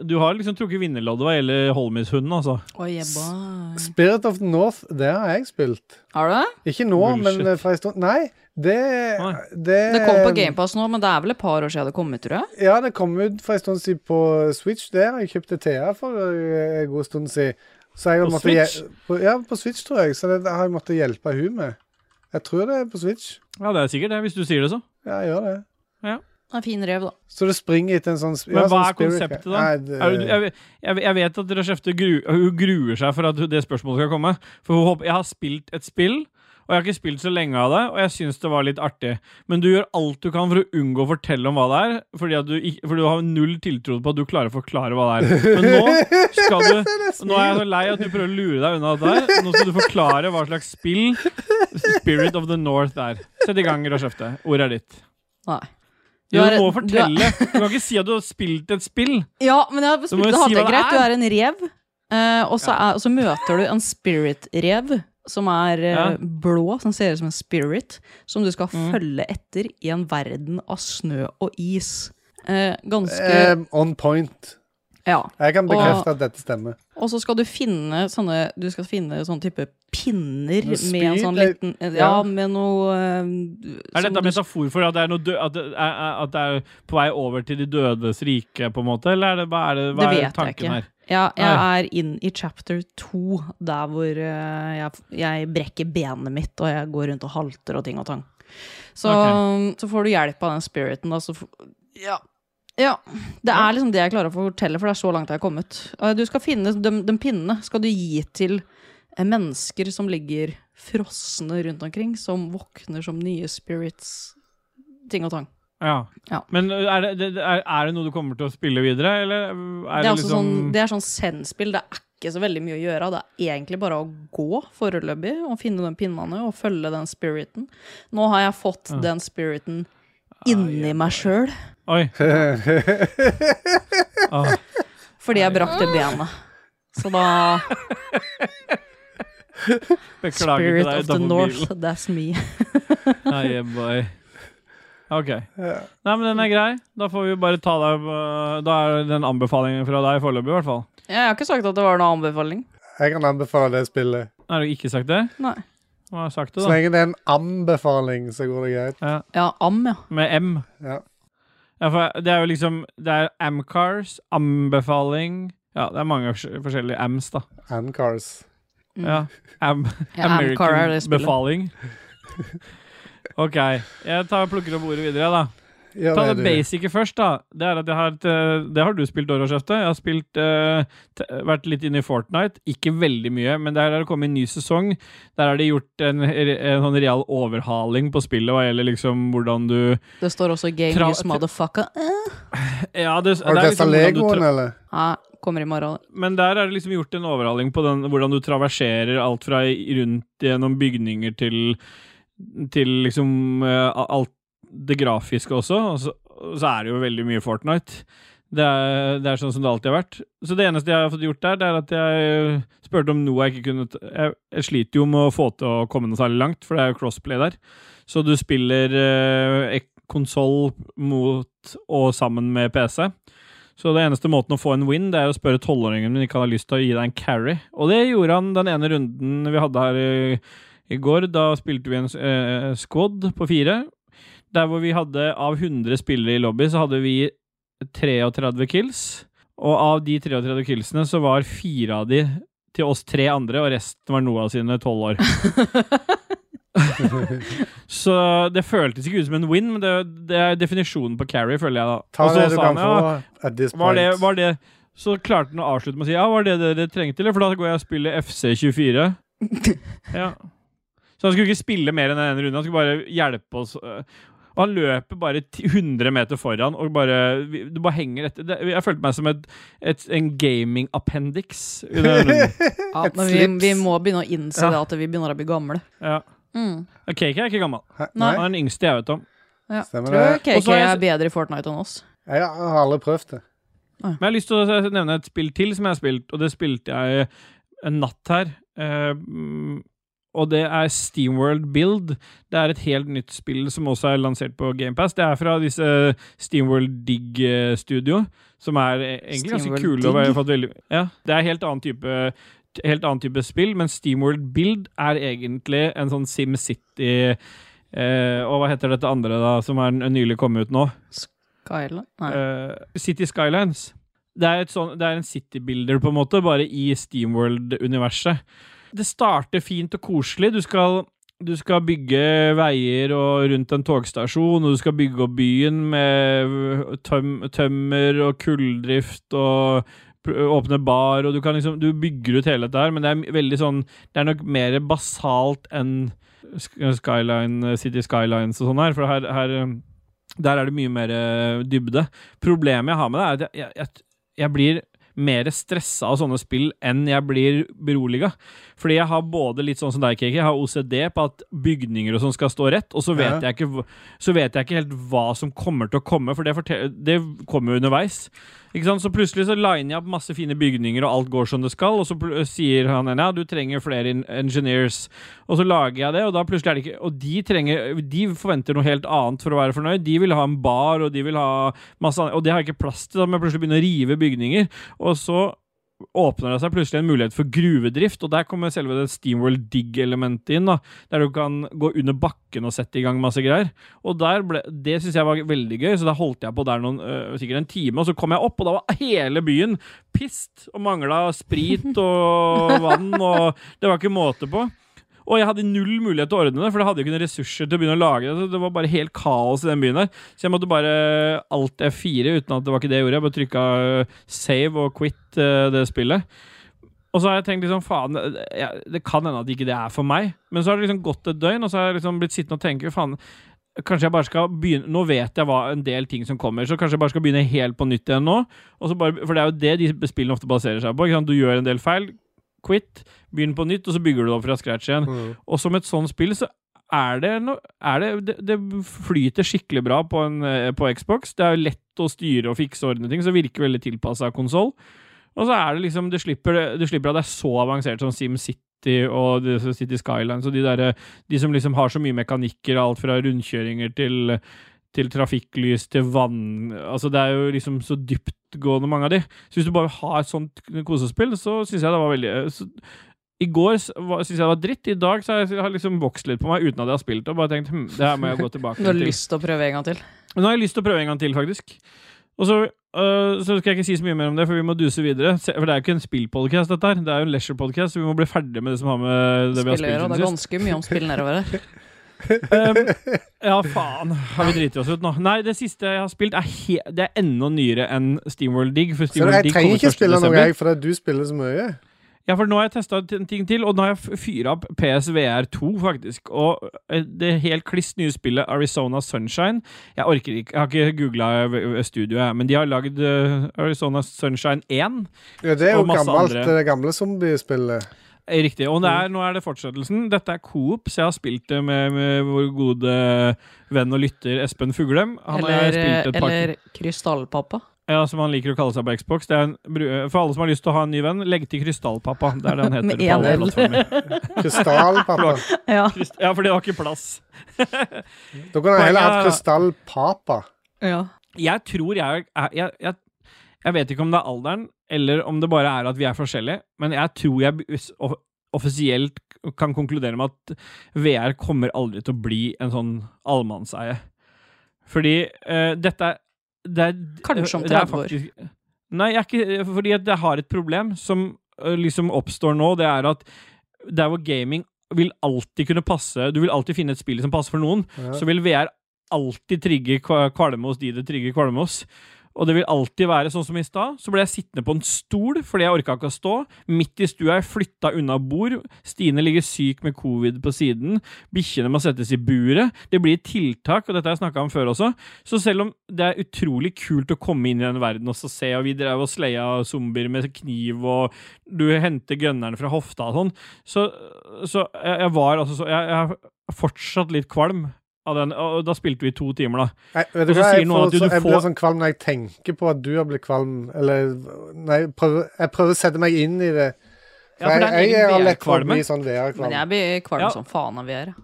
du har liksom trukket vinnerloddet hva gjelder Holmis-hunden, altså. Oi, Spirit of the North, det har jeg spilt. Har du det? Ikke nå, Bullshit. men for en stund Nei, det, Nei. det Det kom på GamePass nå, men det er vel et par år siden det kom ut, tror jeg. Ja, det kom ut for en stund siden på Switch. Det har jeg kjøpt TA for eh, en god stund siden. Så jeg har På måttet hje- Switch? På, ja, på Switch, tror jeg. Så det har jeg måttet hjelpe hun med. Jeg tror det er på Switch. Ja, det er sikkert det, hvis du sier det så. Ja, jeg gjør det. Det er en fin rev, da. Så det springer etter en sånn sp- Men ja, hva er sånn spirit- konseptet, da? Nei, Er du- det, Jeg, jeg, jeg vet at Rashefte gru, hun gruer seg for at det spørsmålet skal komme. For hun håper, jeg har spilt et spill, og jeg har ikke spilt så lenge av det, og jeg syns det var litt artig. Men du gjør alt du kan for å unngå å fortelle om hva det er, fordi at du, ikke- for du har null tiltro på at du klarer å forklare hva det er. Men nå skal du Nå er jeg så lei at du prøver å lure deg unna det der. Nå skal du forklare hva slags spill Spirit of the North er. Sett i gang, Rashefte. Ordet er ditt. Nei. Du Jo, er- du må du er- fortelle. Du kan ikke si at du har spilt et spill. Ja, men jeg har må spilt jo det si hva hadde jeg det greit. Du er. er en rev, eh, og så, er, og så møter du en spirit-rev, som er eh, Ja. Mm. blå, som ser ut som en spirit, som du skal følge etter i en verden av snø og is. Eh, ganske eh, on point. Ja. Jeg kan og- bekrefte at dette stemmer. Og så skal du finne sånne Du skal finne sånne type pinner Noe med en sånn spyd, liten Ja, ja. med noe eh, Er som dette en du- metafor for at det, er noe dø at, det er, er- at det er på vei over til de dødes rike, på en måte? Eller er det, hva er, det, hva Det er vet jeg tanken ikke. her? Ja, jeg Nei. er inn i chapter to, der hvor eh, jeg, jeg brekker benet mitt, og jeg går rundt og halter og ting og tang. Så, så får du hjelp av den spiriten, da, så f- Ja. Ja. Det er liksom det jeg klarer å fortelle, for det er så langt jeg har kommet. Eh, Du skal finne de, de pinnene skal du gi til eh, mennesker som ligger frosne rundt omkring, som våkner som nye spirits, ting og tang. Ja. Ja. Men er det, det, det- er, er det noe du kommer til å spille videre, eller er det, det, er også liksom sånn, det er sånn send-spill. Det er ikke så veldig mye å gjøre. Det er egentlig bare å gå foreløpig og finne de pinnene og følge den spiriten. Nå har jeg fått den spiriten inni meg sjøl Oi. Ah, fordi jeg brakk det benet. Så da beklager til Spirit deg of the utafor North, bilen. that's me. Nei, boy. OK. Nei, men den er grei. Da får vi bare ta deg på- Da er den anbefalingen fra deg foreløpig, i hvert fall. Jeg har ikke sagt at det var noen anbefaling. Jeg kan anbefale det spillet. Har du ikke sagt det? Nei. Hva har jeg sagt det, Så da? lenge det er en anbefaling, så går det greit. Ja. Ja, am, ja. Med M. Ja. Ja, for det er jo liksom Det er Amcars, anbefaling Ja, det er mange fors- forskjellige Ams, da. Amcars. Mm. Ja. Am, Ja, Amcar er det American befaling. spillet. OK. Jeg tar, plukker opp ordet videre, da. Ja, Ta det du. basice først, da. Det, er at jeg har, et, eh, det har du spilt, Dora Skjefte. Jeg har spilt, eh, t vært litt inne i Fortnite. Ikke veldig mye, men der er det kommet en ny sesong. Der er det gjort en, en sånn real overhaling på spillet hva gjelder liksom hvordan du Det står også 'game Tra- use motherfucker'. Eh. ja, det, Har du det er testa liksom hvordan du tra- Legoen, eller? Ja, kommer i morgen. Men der er det liksom gjort en overhaling på den, hvordan du traverserer alt fra rundt gjennom bygninger til, til liksom eh, alt det grafiske også. Og så, og så er det jo veldig mye Fortnite. Det er, det er sånn som det alltid har vært. Så det eneste jeg har fått gjort der, det er at jeg eh, spurte om noe jeg ikke kunne t- jeg, jeg sliter jo med å få til å komme noe særlig langt, for det er jo crossplay der. Så du spiller eh, konsoll mot og sammen med PC. Så det eneste måten å få en win, det er å spørre tolvåringen om ikke han har lyst til å gi deg en carry. Og det gjorde han den ene runden vi hadde her i, i går. Da spilte vi en eh, squad på fire. Der hvor vi hadde, av 100 spillere i lobby, så hadde vi 33 kills. Og av de 33 killsene så var fire av de til oss tre andre, og resten var Noah sine tolv år. så det føltes ikke ut som en win, men det, det er definisjonen på carry, føler jeg da. Ta Og så det du sa han, kan ja, få at this var point. det, var det Så klarte han å avslutte med å si Ja, var det det dere trengte, eller? For da går jeg og spiller FC24 Ja Så han skulle ikke spille mer enn en runde Han skulle bare hjelpe oss øh. Og han løper bare ti- 100 meter foran Og bare, vi- du bare henger etter det, Jeg følte meg som et, et, en gaming-appendix i den runden. Ja, Et men vi, slips. vi må begynne å innse Ja. det at vi begynner å bli gamle. ja. Mm. Cake er ikke gammel Hæ? Nei. Nei. Han er den yngste jeg vet om Ja. Stemmer Tror det. jeg KK Og så har jeg- er bedre i Fortnite enn oss. Jeg har aldri prøvd det. Men jeg har lyst til å nevne et spill til som jeg har spilt, og det spilte jeg eh, en natt her. Eh, mm, og det er Steamworld Build. Det er et helt nytt spill som også er lansert på GamePass. Det er fra disse Steamworld Dig eh, Studio, som er eh, egentlig ganske SteamWorld kule. Og har Dig? fått veldig, ja, det er helt annen type helt annen type spill, men Steamworld Build er egentlig en sånn SimCity eh, Og hva heter dette andre, da, som er n- nylig kommet ut nå? Skyla? Nei. Eh, City Skylines. Det er, et sånn, det er en citybuilder, på en måte, bare i Steamworld-universet. Det starter fint og koselig. Du skal, du skal bygge veier og rundt en togstasjon, og du skal bygge opp byen med tøm, tømmer og kulldrift og pr- åpne bar, og du kan liksom Du bygger ut hele dette her, men det er veldig sånn Det er nok mer basalt enn Sk- eh, Skyline, City Skylines og sånn her, for her, her um, Der er det mye mer eh, dybde. Problemet jeg har med det, er at jeg, jeg, jeg blir mer stressa av sånne spill enn jeg blir beroliga. Fordi jeg har både litt sånn som deg, Kiki, jeg har OCD på at bygninger og sånn skal stå rett, og så vet, Ja. jeg ikke, hva- så vet jeg ikke helt hva som kommer til å komme, for det, fortel- det kommer jo underveis. Ikke sant? Så plutselig så liner jeg opp masse fine bygninger, og alt går som det skal. Og så pl- sier han ene ja, du trenger flere in- engineers. Og så lager jeg det, og da plutselig er det ikke Og de, trenger, de forventer noe helt annet for å være fornøyd. De vil ha en bar, og de vil ha masse annet. Og det har jeg ikke plass til, da må jeg plutselig begynne å rive bygninger. Og så åpner det seg plutselig en mulighet for gruvedrift, og der kommer selve det Steamworld Dig-elementet inn, da, der du kan gå under bakken og sette i gang masse greier. Og der ble, Det syns jeg var veldig gøy, så da holdt jeg på der noen, øh, sikkert en time, og så kom jeg opp, og da var hele byen pissed og mangla sprit og vann, og det var ikke måte på. Og jeg hadde null mulighet til å ordne det, for jeg hadde jo ikke noen ressurser til å begynne å lage det. så Det var bare helt kaos i den byen her. Så jeg måtte bare alt F4, uten at det var ikke det jeg gjorde. Jeg bare trykka save og quit eh, det spillet. Og så har jeg tenkt liksom, faen, det- jeg- det kan hende at ikke det er for meg. Men så har det liksom gått et døgn, og så har jeg liksom blitt sittende og tenke, faen, kanskje jeg bare skal begynne, nå vet jeg hva en del ting som kommer, så kanskje jeg bare skal begynne helt på nytt igjen nå. Og så bare, for det er jo det de spillene ofte baserer seg på. Ikke sant? Du gjør en del feil, quit, begynn på nytt, og så bygger du det opp fra scratch igjen. Mm. Og som et sånt spill, så er det no, er det, det, det flyter skikkelig bra på, en, eh, på Xbox. Det er jo lett å styre og fikse og ordne ting, så virker veldig tilpassa konsoll. Og så er det liksom Du slipper, du slipper at det er så avansert som SimCity og det som City Skylines og de derre De som liksom har så mye mekanikker, alt fra rundkjøringer til til trafikklys, til vann Altså, det er jo liksom så dyptgående, mange av de. Så hvis du bare har et sånt kosespill, så syns jeg det var veldig så, i går s- var- syntes jeg det var dritt. I dag så har jeg har liksom vokst litt på meg uten at jeg har spilt det. Og bare tenkt hm, det her må jeg gå tilbake Du har til. lyst til å prøve en gang til? Men nå har jeg lyst til å prøve en gang til, faktisk. Og så, øh, så skal jeg ikke si så mye mer om det, for vi må duse videre. Se- For det er jo ikke en spillpodcast dette her. Det er jo en leisure-podcast, så vi må bli ferdig med det som har med det vi har spilt Spiller, og det er siden sist. ganske mye om spill nedover her. Ehm, ja, faen. Har vi driti oss ut nå? Nei, det siste jeg har spilt, er, he det er enda nyere enn Steamworld Dig. For Så Steamworld jeg Dig trenger kommer ikke 1. spille noe, desember. jeg, fordi du spiller så mye. Ja, for nå har jeg testa en ting til, og nå har jeg f- fyra opp PSVR 2, faktisk. Og eh, det helt kliss nye spillet Arizona Sunshine Jeg orker ikke, jeg har ikke googla studioet, jeg, men de har lagd eh, Arizona Sunshine 1. Ja, det er jo Og masse gammelt, andre. det gamle zombiespillet. Eh, Riktig. Og det Mm. er, nå er det fortsettelsen. Dette er Coop, så jeg har spilt det med, med vår gode venn og lytter Espen Fuglem. Han har jeg Eller, spilt et par eller krystallpappa. Ja, som han liker å kalle seg på Xbox. Det er en, bru- for alle som har lyst til å ha en ny venn, legg til Krystallpappa. Det er det han Med heter på alle en L. plattformer. Krystallpappa. Ja. Krist- Ja, for det var ikke plass. Da kunne jeg heller hatt Poenget- krystallpapa. ja. Jeg tror jeg, er- jeg, jeg Jeg vet ikke om det er alderen, eller om det bare er at vi er forskjellige, men jeg tror jeg us- off- offisielt kan konkludere med at VR kommer aldri til å bli en sånn allmannseie. Fordi eh, dette er det er, Kanskje om det er 30 år. faktisk- Nei, jeg er ikke, fordi at jeg har et problem som eh, liksom oppstår nå. Det er at der hvor gaming vil alltid kunne passe Du vil alltid finne et spill som passer for noen så vil VR alltid trigge kva- kvalme hos de det trigger kvalme hos. Og det vil alltid være sånn som i stad. Så ble jeg sittende på en stol fordi jeg orka ikke å stå. Midt i stua er jeg flytta unna bord. Stine ligger syk med covid på siden. Bikkjene må settes i buret. Det blir tiltak, og dette har jeg snakka om før også. Så selv om det er utrolig kult å komme inn i den verden og så se, og vi drev og sleia zombier med kniv, og du henter gunneren fra hofta og sånn, så, så jeg, jeg var altså så Jeg jeg er fortsatt litt kvalm av den, og da spilte vi i to timer, da. Nei, vet du Og så hva, sier jeg, noen får, at du- så, du jeg blir får- sånn kvalm når jeg tenker på at du har blitt kvalm. Eller Nei, jeg prøver, jeg prøver å sette meg inn i det. Ja, For for det er en jeg, jeg egen har lett for å VR-kvalme. bli sånn Men VR-kvalm. jeg blir kvalm Ja. som faen av VR.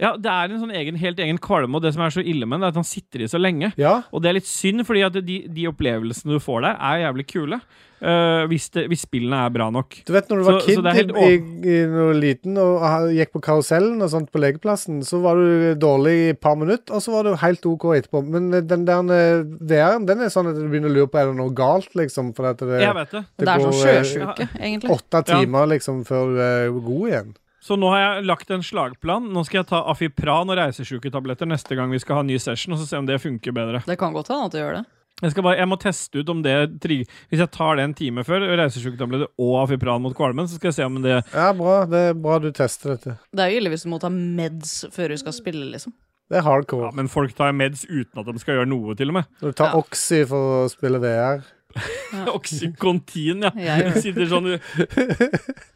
Ja, det er en sånn egen, helt egen kvalme, og det som er så ille med den, er at han sitter i så lenge. Ja, Og det er litt synd, fordi at de, de opplevelsene du får der, er jævlig kule. eh, hvis, det, hvis spillene er bra nok. du vet når du var Så- kid så det er helt i, i, når du var liten og ha- gikk på karusellen og sånt på lekeplassen, så var du dårlig i et par minutter, og så var du helt OK etterpå. Men eh, den der eh, VR-en, den er sånn at du begynner å lure på er det noe galt, liksom. For at det, Jeg vet det. Det, er går, sånn eh, sjøsjuke, egentlig. åtte Ja. timer liksom før du er god igjen. Så nå har jeg lagt en slagplan. Nå skal jeg ta Afipran og reisesjuketabletter neste gang vi skal ha en ny session, og så se om det funker bedre. Det kan godt hende at du gjør det. Jeg, skal bare, jeg må teste ut om det trigger Hvis jeg tar det en time før, reisesjuketabletter og Afipran mot kvalmen, så skal jeg se om det Ja, bra. Det er bra du tester dette. Det er jo ille hvis du må ta meds før du skal spille, liksom. Det er hardcore. ja, Men folk tar meds uten at de skal gjøre noe, til og med. Når du Ja. tar Oxy for å spille VR. Oxycontin, ja. Jeg gjør det. Sitter sånn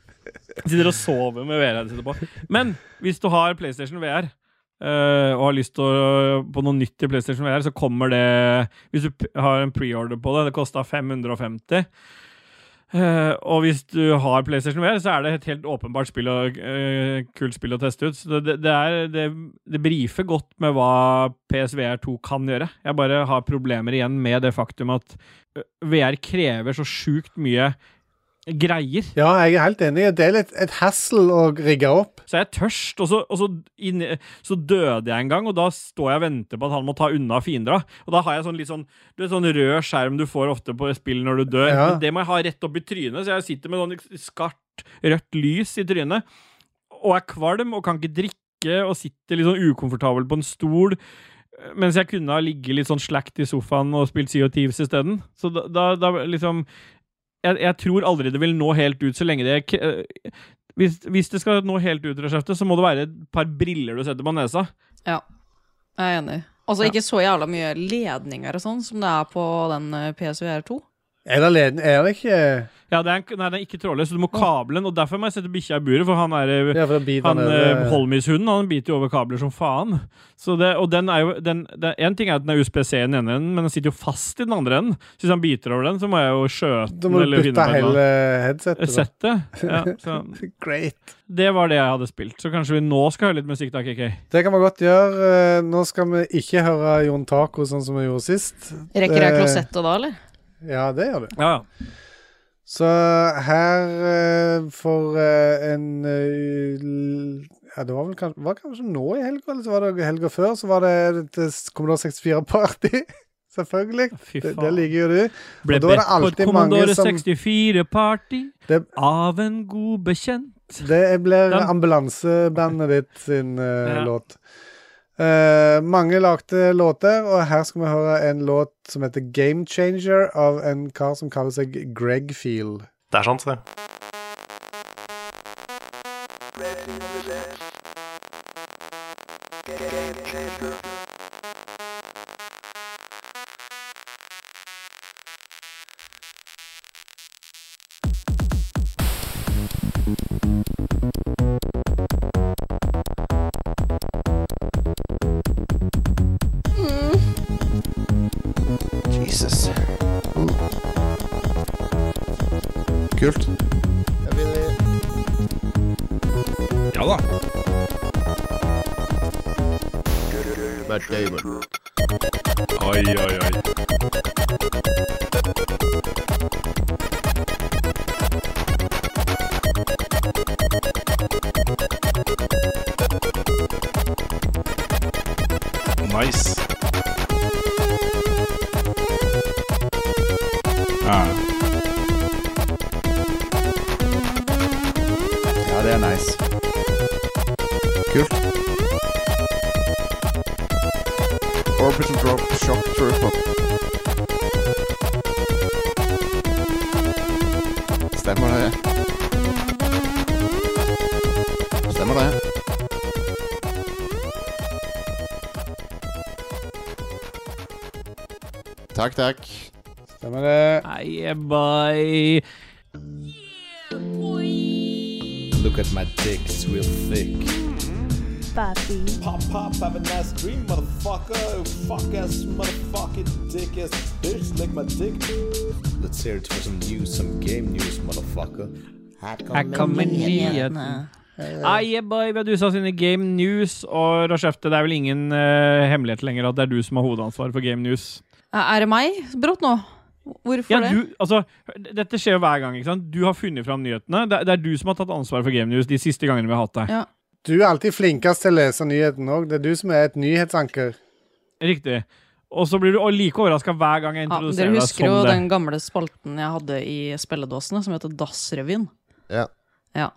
Sitter og sover med VR-en sitter på. Men hvis du har PlayStation VR eh, og har lyst til å, på noe nytt i PlayStation VR, så kommer det Hvis du p- har en preorder på det, det kosta 550. Eh, og hvis du har PlayStation VR, så er det et helt åpenbart spill og, eh, kult spill å teste ut. Så det, det, er, det, det brifer godt med hva PSVR2 kan gjøre. Jeg bare har problemer igjen med det faktum at ø, VR krever så sjukt mye greier. Ja, jeg er helt enig. Det er litt et hassle å rigge opp. Så jeg er tørst, og så, og så, inn, så døde jeg en gang, og da står jeg og venter på at han må ta unna fiendera. Og da har jeg sånn litt sånn Du vet sånn rød skjerm du får ofte på spill når du dør. Ja. Men det må jeg ha rett opp i trynet, så jeg sitter med sånn skarpt rødt lys i trynet. Og er kvalm og kan ikke drikke og sitter litt sånn ukomfortabel på en stol. Mens jeg kunne ha ligget litt sånn slakt i sofaen og spilt Sea of Thieves isteden. Så da, da, da liksom jeg, jeg tror aldri det vil nå helt ut, så lenge det k- eh, hvis, hvis det skal nå helt ut, Reshefte, så må det være et par briller du setter på nesa. Jeg er enig. Altså ikke så jævla mye ledninger og sånn som det er på den eh, PSVR2. Er det leden? Er det ikke Ja, Ja, det er, en- nei, den er ikke trådløs, så du må kable den. Og derfor må jeg sette bikkja i buret, for han er eh, for det biter han, eh, nede. Holmishunden han biter jo over kabler som faen. Så det, og den er jo den, det, En ting er at den er USPC i den ene enden, men den sitter jo fast i den andre enden. Så hvis han biter over den, så må jeg jo skjøte Da den. må du eller finne bytte på et eller hele annet. headsetet. da. Settet. Ja, så Great. det var det jeg hadde spilt. Så kanskje vi nå skal høre litt musikk, da, KK. Det kan vi godt gjøre. Eh, Nå skal vi ikke høre Jon Taco sånn som vi gjorde sist. Rekker jeg Eh, klosettet da, eller? Ja, det gjør du. Ja, ja. Så her eh, for eh, en eh, l- Ja, det var vel kanskje, var kanskje nå i helga, eller så var det helga før, så var det et eh, Commodore 64-party. Selvfølgelig. Fy Det, faen. det liker jo du. Ble Og da var det bedt på et alltid mange Commodore som- 64-party Det- av en god bekjent. Det blir Den- ambulansebandet ditt sin eh, Ja. låt. Eh, mange lagde låter, og her skal vi høre en låt som heter Game Changer av en kar som kaller seg Greg Feel. Det er sant, det. Jesus. Kult. Jeg vil, Ja da. Matt Damon. Oi, oi, oi. Nice. Ja. Ja, det er nice. Orbital Drop Shock Trooper. Stemmer det. Stemmer det. Takk, takk. Stemmer det? Nei, eh, bye. Look at my dick, it's real thick. Pop, pop, have a nice cream, motherfucker. Fuck ass, motherfucking dick ass bitch, lick my dick. Let's hear it for some news, some game news, motherfucker. Her kommer nyhetene. Aye, boy, vi har dusa oss inn i Game News, og Rashefte, det er vel ingen eh, hemmelighet lenger at det er du som har hovedansvaret for Game News. Er det meg brått nå? Hvorfor Ja, det? du, altså, dette skjer jo hver gang. ikke sant? Du har funnet fram nyhetene. Det, er- det er du som har tatt ansvaret for Game News de siste gangene vi har hatt deg. Ja. Du er alltid flinkest til å lese nyheten òg. Det er du som er et nyhetsanker. Riktig. Og så blir du og like overraska hver gang jeg Ja, men introduserer dere deg husker som jo det. den gamle spalten jeg hadde i spilledåsene, som heter Dassrevyen. Ja. Ja.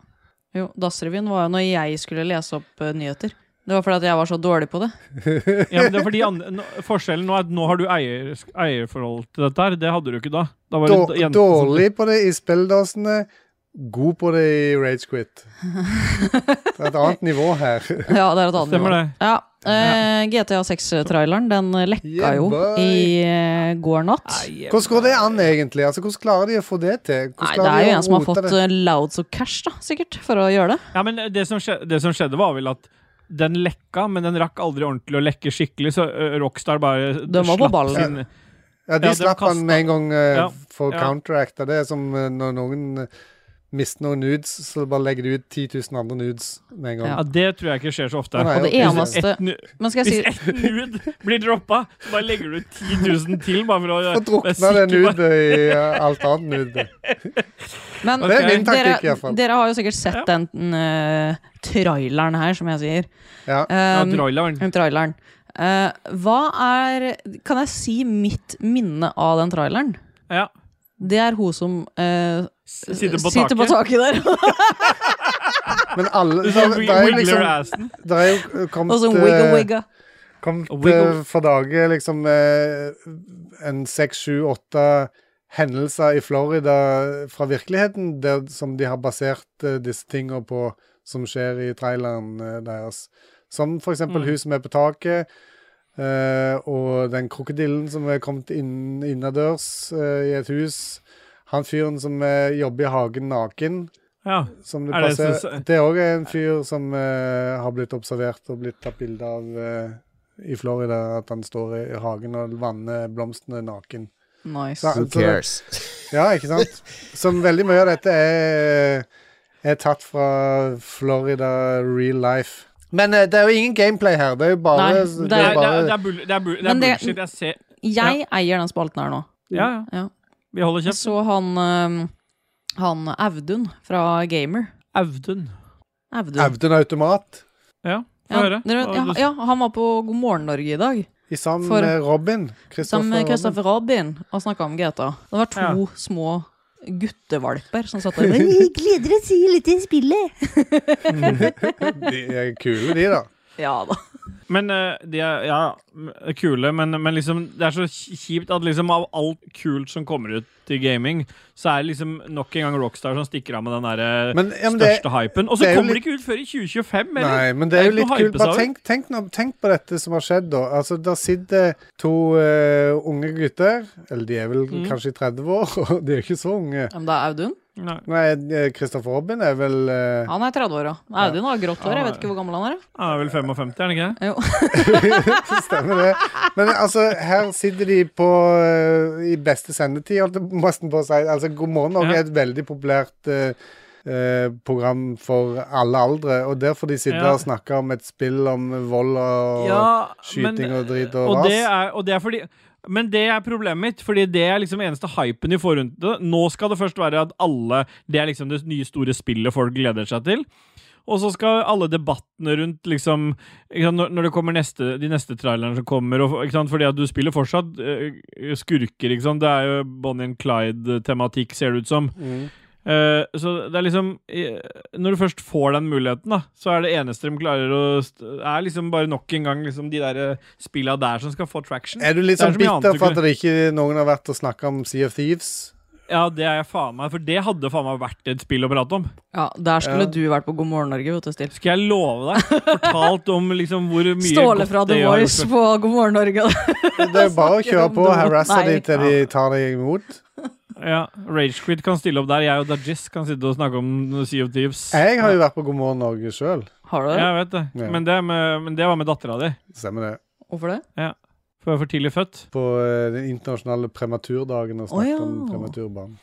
Jo, Dassrevyen var jo når jeg skulle lese opp eh, nyheter. Det var fordi at jeg var så dårlig på det. Ja, men det er fordi andre, nå, forskjellen nå er at nå har du eier, eierforhold til dette her. Det hadde du ikke da. da var det Då- jenten som- Dårlig på det i spilledåsene, god på det i Rage Quit. Det er et annet nivå her. Ja, det er et annet Stemmer nivå. det. Ja, eh, GTA 6-traileren, den eh, lekka Yeah, jo boy. i eh, går natt. Hvordan går det an, egentlig? Altså, Hvordan klarer de å få det til? Hvordan Nei, det klarer er de jo å en som har rote fått det? eh, loads of cash, da, sikkert, for å gjøre det. Ja, men det som, skje, det som skjedde, var vel at den lekka, men den rakk aldri ordentlig å lekke skikkelig, så ø, Rockstar bare Den var på ballen. sin- Ja, de Ja, de slapp kastet- han med en gang eh, Ja, for å ja. counteracte det. er Som eh, når noen eh, mister noen nudes, så bare legger de ut 10 000 andre nudes med en gang. Ja, det tror jeg ikke skjer så ofte. Å, nei, Og det ja. Hvis eneste ett nu- Men skal hvis jeg si ett nude blir droppa, så bare legger du 10 000 til. Bare for å Og være drukna sikker det på- nudet i eh, alt annet nude. Men Det er Ok. min taktikk, i hvert dere, fall. dere har jo sikkert sett Ja. den eh, traileren her, som jeg sier. Ja. Ja, Um, traileren. Den traileren. Eh, hva er Kan jeg si mitt minne av den traileren? Ja. Det er hun som eh, Sitter på sitter på taket. taket der. Men alle Du Det sa er det er jo wiggler liksom assen. Det er jo eh, og så kommet, wiggle, eh, wiggle. kommet Wiggle. eh, for dage liksom eh, en seks, sju, åtte hendelser i Florida fra virkeligheten der, som de har basert eh, disse tinga på som skjer i traileren eh, deres. Som for eksempel hun som er på taket, eh, og den krokodillen som er kommet inn, innadørs eh, i et hus. Han fyren som eh, jobber i hagen naken. Ja. Som det Er det passer. så- Det er òg en fyr som eh, har blitt observert og blitt tatt bilde av eh, i Florida. At han står i, i hagen og vanner blomstene naken. Nice. Så- Who så det- cares? Ja, ikke sant? Som veldig mye av dette er, eh, er tatt fra Florida real life. Men eh, det er jo ingen gameplay her. Det er jo bare, Nei, det Det er er, det bare er, det er, bull, det er, bull, det er Men det- bullshit. Jeg ser Jeg eier den spalten her nå. Ja, ja. Ja. Vi holder Jeg kjeft. så han eh, han Audun fra Gamer. Audun. Audun. Audun Automat Ja, få Ja, høre. dere, Hva ja, du- ja, han var på God morgen Norge i dag. i sammen For- med Robin. Sammen med Kristoffer Robin. Kristoffer Robin og snakka om GTA. Det var to Ja. små guttevalper som satt der. Jeg gleder å si litt i spillet. De er kule, de, da. Ja da. Men eh, de er ja, m- kule, men, men liksom, det er så ki- kjipt at liksom av alt kult som kommer ut til gaming, så er det liksom nok en gang Rockstar som stikker av med den der, eh, Men, ja, men det- største hypen. Og så det er jo kommer litt- det ikke ut før i 2025, eller? Nei, men det er jo ikke litt noe kult. hype, sa Bare du? tenk, tenk, nå, tenk på dette som har skjedd, da. Altså, Der sitter to eh, unge gutter, eller de er vel Mm. kanskje i 30 år, og de er ikke så unge. Men det er Audun. Nei. Nei, eh, Kristoffer Robin er vel eh, Han er 30 år òg. Audun har grått hår. Jeg vet ikke hvor gammel han er. Han er vel 55, er han ikke det? Stemmer det. Men altså, her sitter de på eh, i beste sendetid, holdt jeg nesten på å si. Altså, God morgen Norge Ja. er et veldig populært eh, eh, program for alle aldre, og derfor de sitter Ja. og snakker om et spill om vold og skyting men- og drit og, og ras. det er, og det er fordi men det er problemet mitt, Fordi det er liksom eneste hypen de får rundt det. Nå skal det først være at alle Det er liksom det nye store spillet folk gleder seg til. Og så skal alle debattene rundt liksom ikke sant, Når når det kommer neste, de neste trailerne som kommer og, ikke sant, Fordi at du spiller fortsatt eh, skurker, ikke sant. Det er jo Bonnie and Clyde-tematikk, ser det ut som. Mm. Eh, så det er liksom eh, Når du først får den muligheten, da, så er det eneste de klarer å st- Er liksom bare nok en gang liksom de der eh, spilla der som skal få traction. Er du litt Det er sånn så mye annet bitter du for kunne- at det ikke noen har vært og snakka om Sea of Thieves? Ja, det er jeg faen meg, for det hadde faen meg vært et spill å prate om. Ja, Der skulle Ja. du vært på God morgen Norge, vet du, Stil. Skal jeg love deg? Fortalt om liksom hvor mye Ståle godt fra The det har gjort Voice for- på God morgen Norge. Det er jo bare å Snakker kjøre om på og det. harasse Nei. de til de tar deg imot. Ja, Ragequid kan stille opp der. Jeg og Dajis kan sitte og snakke om Sea of Thieves. Jeg har jo vært på God morgen Norge sjøl. Har du Ja, det? jeg vet det. Ja. Men, det er med, men det var med dattera di. Stemmer det. Hvorfor det? For jeg er for tidlig født. På eh, den internasjonale prematurdagen og Å, ja. snakket om prematurbarn.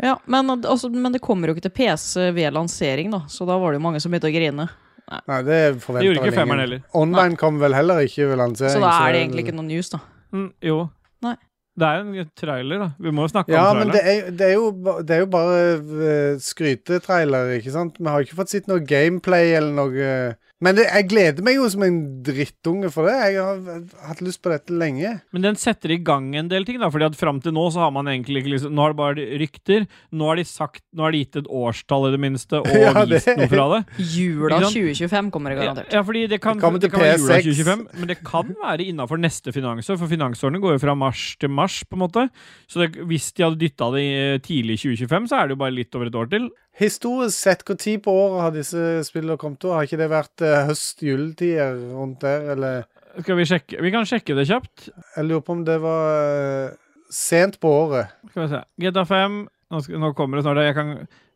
Ja, men, altså, men det kommer jo ikke til PC ved lansering, da. Så da var det jo mange som begynte å grine. Nei, det Det gjorde forventa ikke vel femmeren ingen. heller. Online kom vel heller ikke ved lansering. Så da er det egentlig ikke noe news, da. Mm, jo. Nei. Det er en trailer, da. Vi må jo snakke ja, om men traileren. det er, det, er jo, ba- det er jo bare eh, skrytetrailer, ikke sant? Vi har ikke fått sett noe gameplay eller noe Men det, jeg gleder meg jo som en drittunge for det. Jeg har hatt lyst på dette lenge. Men den setter i gang en del ting, da. Fordi at fram til nå så har man egentlig ikke liksom Nå har det bare rykter. Nå har de sagt Nå har de gitt et årstall, i det minste, og Ja, det- vist noe fra det. Jula Ikke sant? 2025 kommer det Ja, garantert. ja, fordi det kan, Det det, kommer til kan være jula PS6. 2025, men det kan være innafor neste finansår, for finansårene går jo fra mars til mars, på en måte. Så det, hvis de hadde dytta det i eh, tidlig i 2025, så er det jo bare litt over et år til. Historisk sett, hvor tid på året har disse spillene kommet da? Har ikke det vært eh, høst-juletider rundt der, eller Skal vi sjekke Vi kan sjekke det kjapt. Jeg lurer på om det var eh, sent på året. Skal vi se. GTA 5 Nå, skal, nå kommer det snart. Jeg kan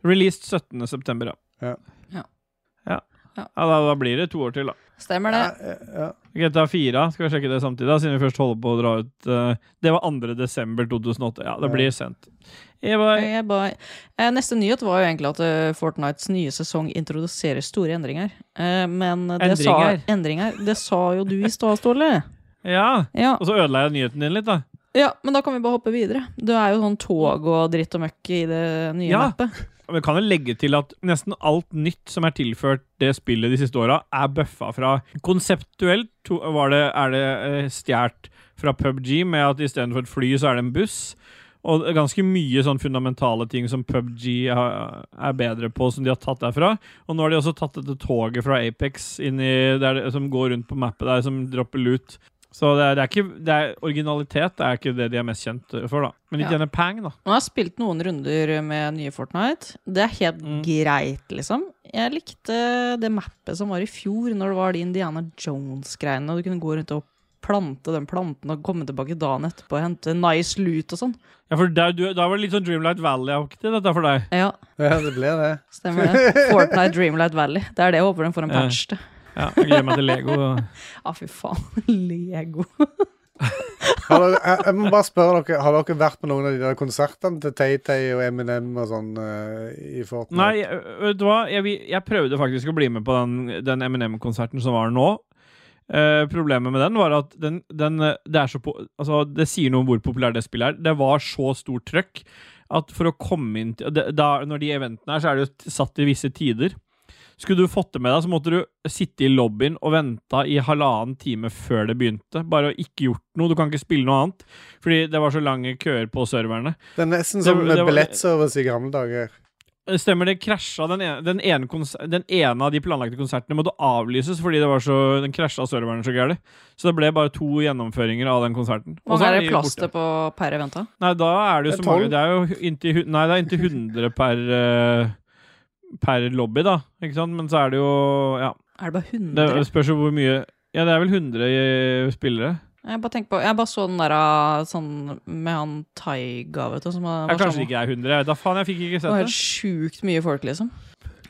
Released 17. september, ja. Ja. Ja. Ja. Ja, Ja. da, da blir det to år til, da. Stemmer det. Ja, eh, ja. GTA 4 skal vi sjekke det samtidig, da, siden vi først holder på å dra ut eh, Det var 2. desember 2008. Ja, det blir sent. Jeg bare, Jeg bare, eh, neste nyhet var jo egentlig at eh, Fortnites nye sesong introduserer store endringer. Eh, men det Endringer? sa Endringer. Det sa jo du i stad, Ståle. ja. Ja. Og så ødela jeg nyheten din litt, da. ja, men da kan vi bare hoppe videre. Det er jo sånn tog og dritt og møkk i det nye Ja. mappet. Men kan jeg legge til at nesten alt nytt som er tilført det spillet de siste åra, er bøffa fra Konseptuelt to, var det, er det eh, stjålet fra PubG, med at istedenfor et fly, så er det en buss. Og det er ganske mye sånn fundamentale ting som PubG har- er bedre på, som de har tatt derfra. Og nå har de også tatt dette toget fra Apex inn i, der, det- som går rundt på mappet der, som dropper lut. Så det er, det er ikke det er, originalitet er ikke det de er mest kjent for, da. Men de Ja. tjener pang, da. Nå har jeg spilt noen runder med nye Fortnite. Det er helt Mm. greit, liksom. Jeg likte det mappet som var i fjor, når det var de Indiana Jones-greiene, og du kunne gå rundt og plante den planten og komme tilbake dagen etterpå og hente nice loot og sånn. Ja, for der, du, da var det litt sånn Dreamlight Valley-aktig, dette for deg. Ja, ja, det blir det. Stemmer det. Fortnite Dreamlight Valley. Det er det jeg håper de får en Ja. patch til. Ja, jeg gleder meg til Lego. Ja, fy faen. Lego. Har dere, jeg, jeg må bare spørre dere, har dere vært på noen av de der konsertene til Tay-Tay og Eminem og sånn eh, i Fortnite? Nei, ø- vet du hva? Jeg, vi- jeg prøvde faktisk å bli med på den, den Eminem-konserten som var nå. Eh, problemet med den var at den, den, eh, det, er så po altså, det sier noe om hvor populær det spillet er. Det var så stort trøkk at for å komme inn til det, da, Når de eventene er, så er det jo t- satt i visse tider. Skulle du fått det med deg, så måtte du sitte i lobbyen og venta i halvannen time før det begynte. Bare å ikke gjort noe. Du kan ikke spille noe annet. Fordi det var så lange køer på serverne. Det er Det nesten som var- det var- billettservice i gamle dager. Stemmer det, krasja den ene, den, ene kons- den ene av de planlagte konsertene måtte avlyses fordi det var så, den krasja serveren så gærent. Så det ble bare to gjennomføringer av den konserten. Hvor Og så mange er de det borte. plass til på per event? da? Nei, da er det jo Det er så mange tolv. Det er jo inntil, hu- nei, det er inntil 100 per, eh, per lobby, da. Ikke sant? Men så er det jo Ja. Er det bare 100? Det spørs jo hvor mye Ja, det er vel 100 i- spillere. Jeg bare, tenker på, jeg bare så den der ah, sånn, med han Taiga, vet du. Som var, Jeg var kanskje det ikke er 100. Jeg vet da faen, jeg fikk ikke Det var sett helt det. sjukt mye folk, liksom.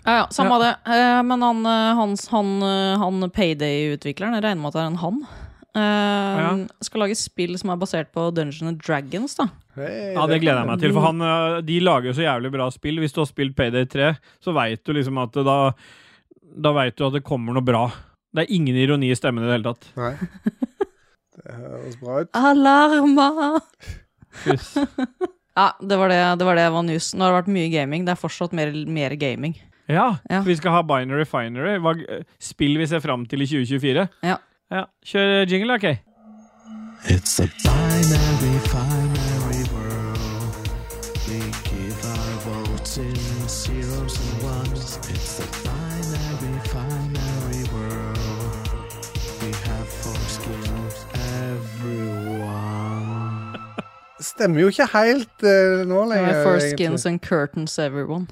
Ja, ja, samme av det. Eh, men han, eh, hans, han, eh, han Payday-utvikleren, jeg regner med at det er en han, eh, Ja. skal lage spill som er basert på Dungeons and Dragons, da. Hey, Ja, Det gleder jeg meg til, for han, eh, de lager jo så jævlig bra spill. Hvis du har spilt Payday 3, så veit du liksom at det da Da veit du at det kommer noe bra. Det er ingen ironi i stemmen i det hele tatt. Nei. Det høres bra ut. Alarma! Hvis- Ja, det var det, det var det var news. Nå har det vært mye gaming. Det er fortsatt mer, mer gaming. Ja, Ja. vi skal ha Binary Finery. Hva, eh, spill vi ser fram til i 2024. Ja. ja. Kjør jingle, da, OK? It's a binary, binary world. We give our votes in zeros and ones. It's a binary, binary world. We have foreskins, everyone. Stemmer jo ikke helt eh, nå lenger. First egentlig. skins and curtains, everyone.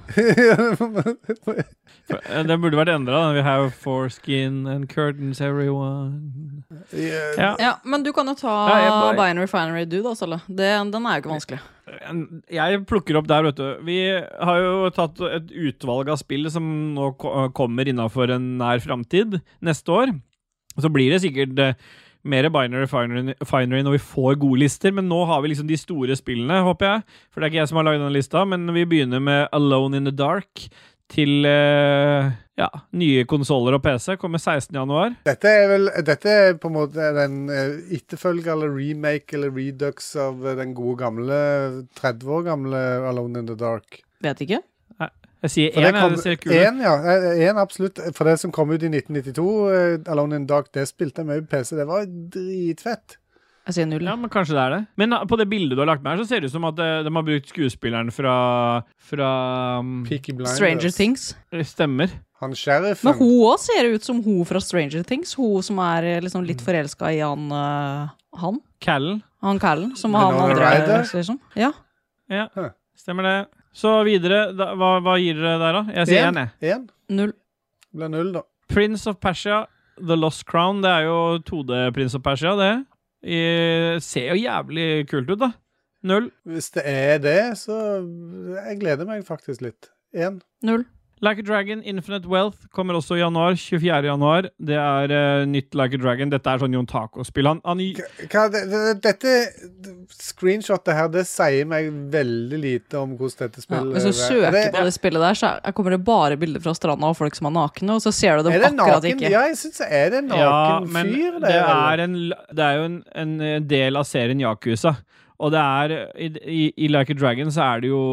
Eh, Den burde vært endra. We have foreskin and curtains, everyone. Ja. Ja. Ja, men du kan jo ta Ja, jeg bare- Binary Finery, du, da, Salle. Det, den er jo ikke vanskelig. En- Jeg plukker opp der, vet du. Vi har jo tatt et utvalg av spill som nå ko- kommer innafor en nær framtid neste år. Så blir det sikkert eh, mer binary finery finery når vi får gode lister, men nå har vi liksom de store spillene, håper jeg. For det er ikke jeg som har lagd denne lista, men vi begynner med Alone in the Dark til eh, ja, nye konsoller og PC. Kommer 16.1. Dette er vel Dette er på en måte den eh, etterfølger eller remake eller redux av eh, den gode gamle 30 år gamle Alone in the Dark. Vet ikke. Jeg sier For det én, jeg, kom- det ser kult ut. En, ja. eh, En, absolutt. For det som kom ut i 1992, eh, Alone in the Dark, det spilte jeg mye på PC. Det var dritfett. Jeg sier null. Ja, men kanskje det er det. Men uh, på det bildet du har lagt med her, så ser det ut som at uh, de har brukt skuespilleren fra Fra um, Peaky Blinders. Stranger Things. Stemmer. Han Men sheriffen. hun òg ser ut som hun fra Stranger Things. Hun som er eh, liksom Mm. litt forelska i han eh, Han Callen. Han Callen, som han Winona andre Ryder? liksom. Ja. Ja, Huh. stemmer det. Så videre. Da, hva, hva gir dere der, da? Jeg sier En. én, jeg. Én Null. ble null, da. Prince of Persia, The Lost Crown. Det er jo 2D-Prince of Persia, det. I, ser jo jævlig kult ut, da. Null. Hvis det er det, så eh, Jeg gleder meg faktisk litt. Én. Null. Like a Dragon, Infinite Wealth kommer også i januar. 24. januar. Det er eh, nytt Like a Dragon. Dette er sånn Jon Taco-spill. Han, han Hva, det, det, dette screenshotet her, det sier meg veldig lite om hvordan dette Ja. spillet Hvis du er. søker Er på det spillet der, så er- kommer det bare bilder fra stranda og folk som er nakne, og så ser du dem Er det akkurat naken? ikke. Ja, jeg syns Er det naken fyr det der? eller? er, en, l- det er jo en, en eh, del av serien Yakuza. Og det er I, i, i Like a Dragon så er det jo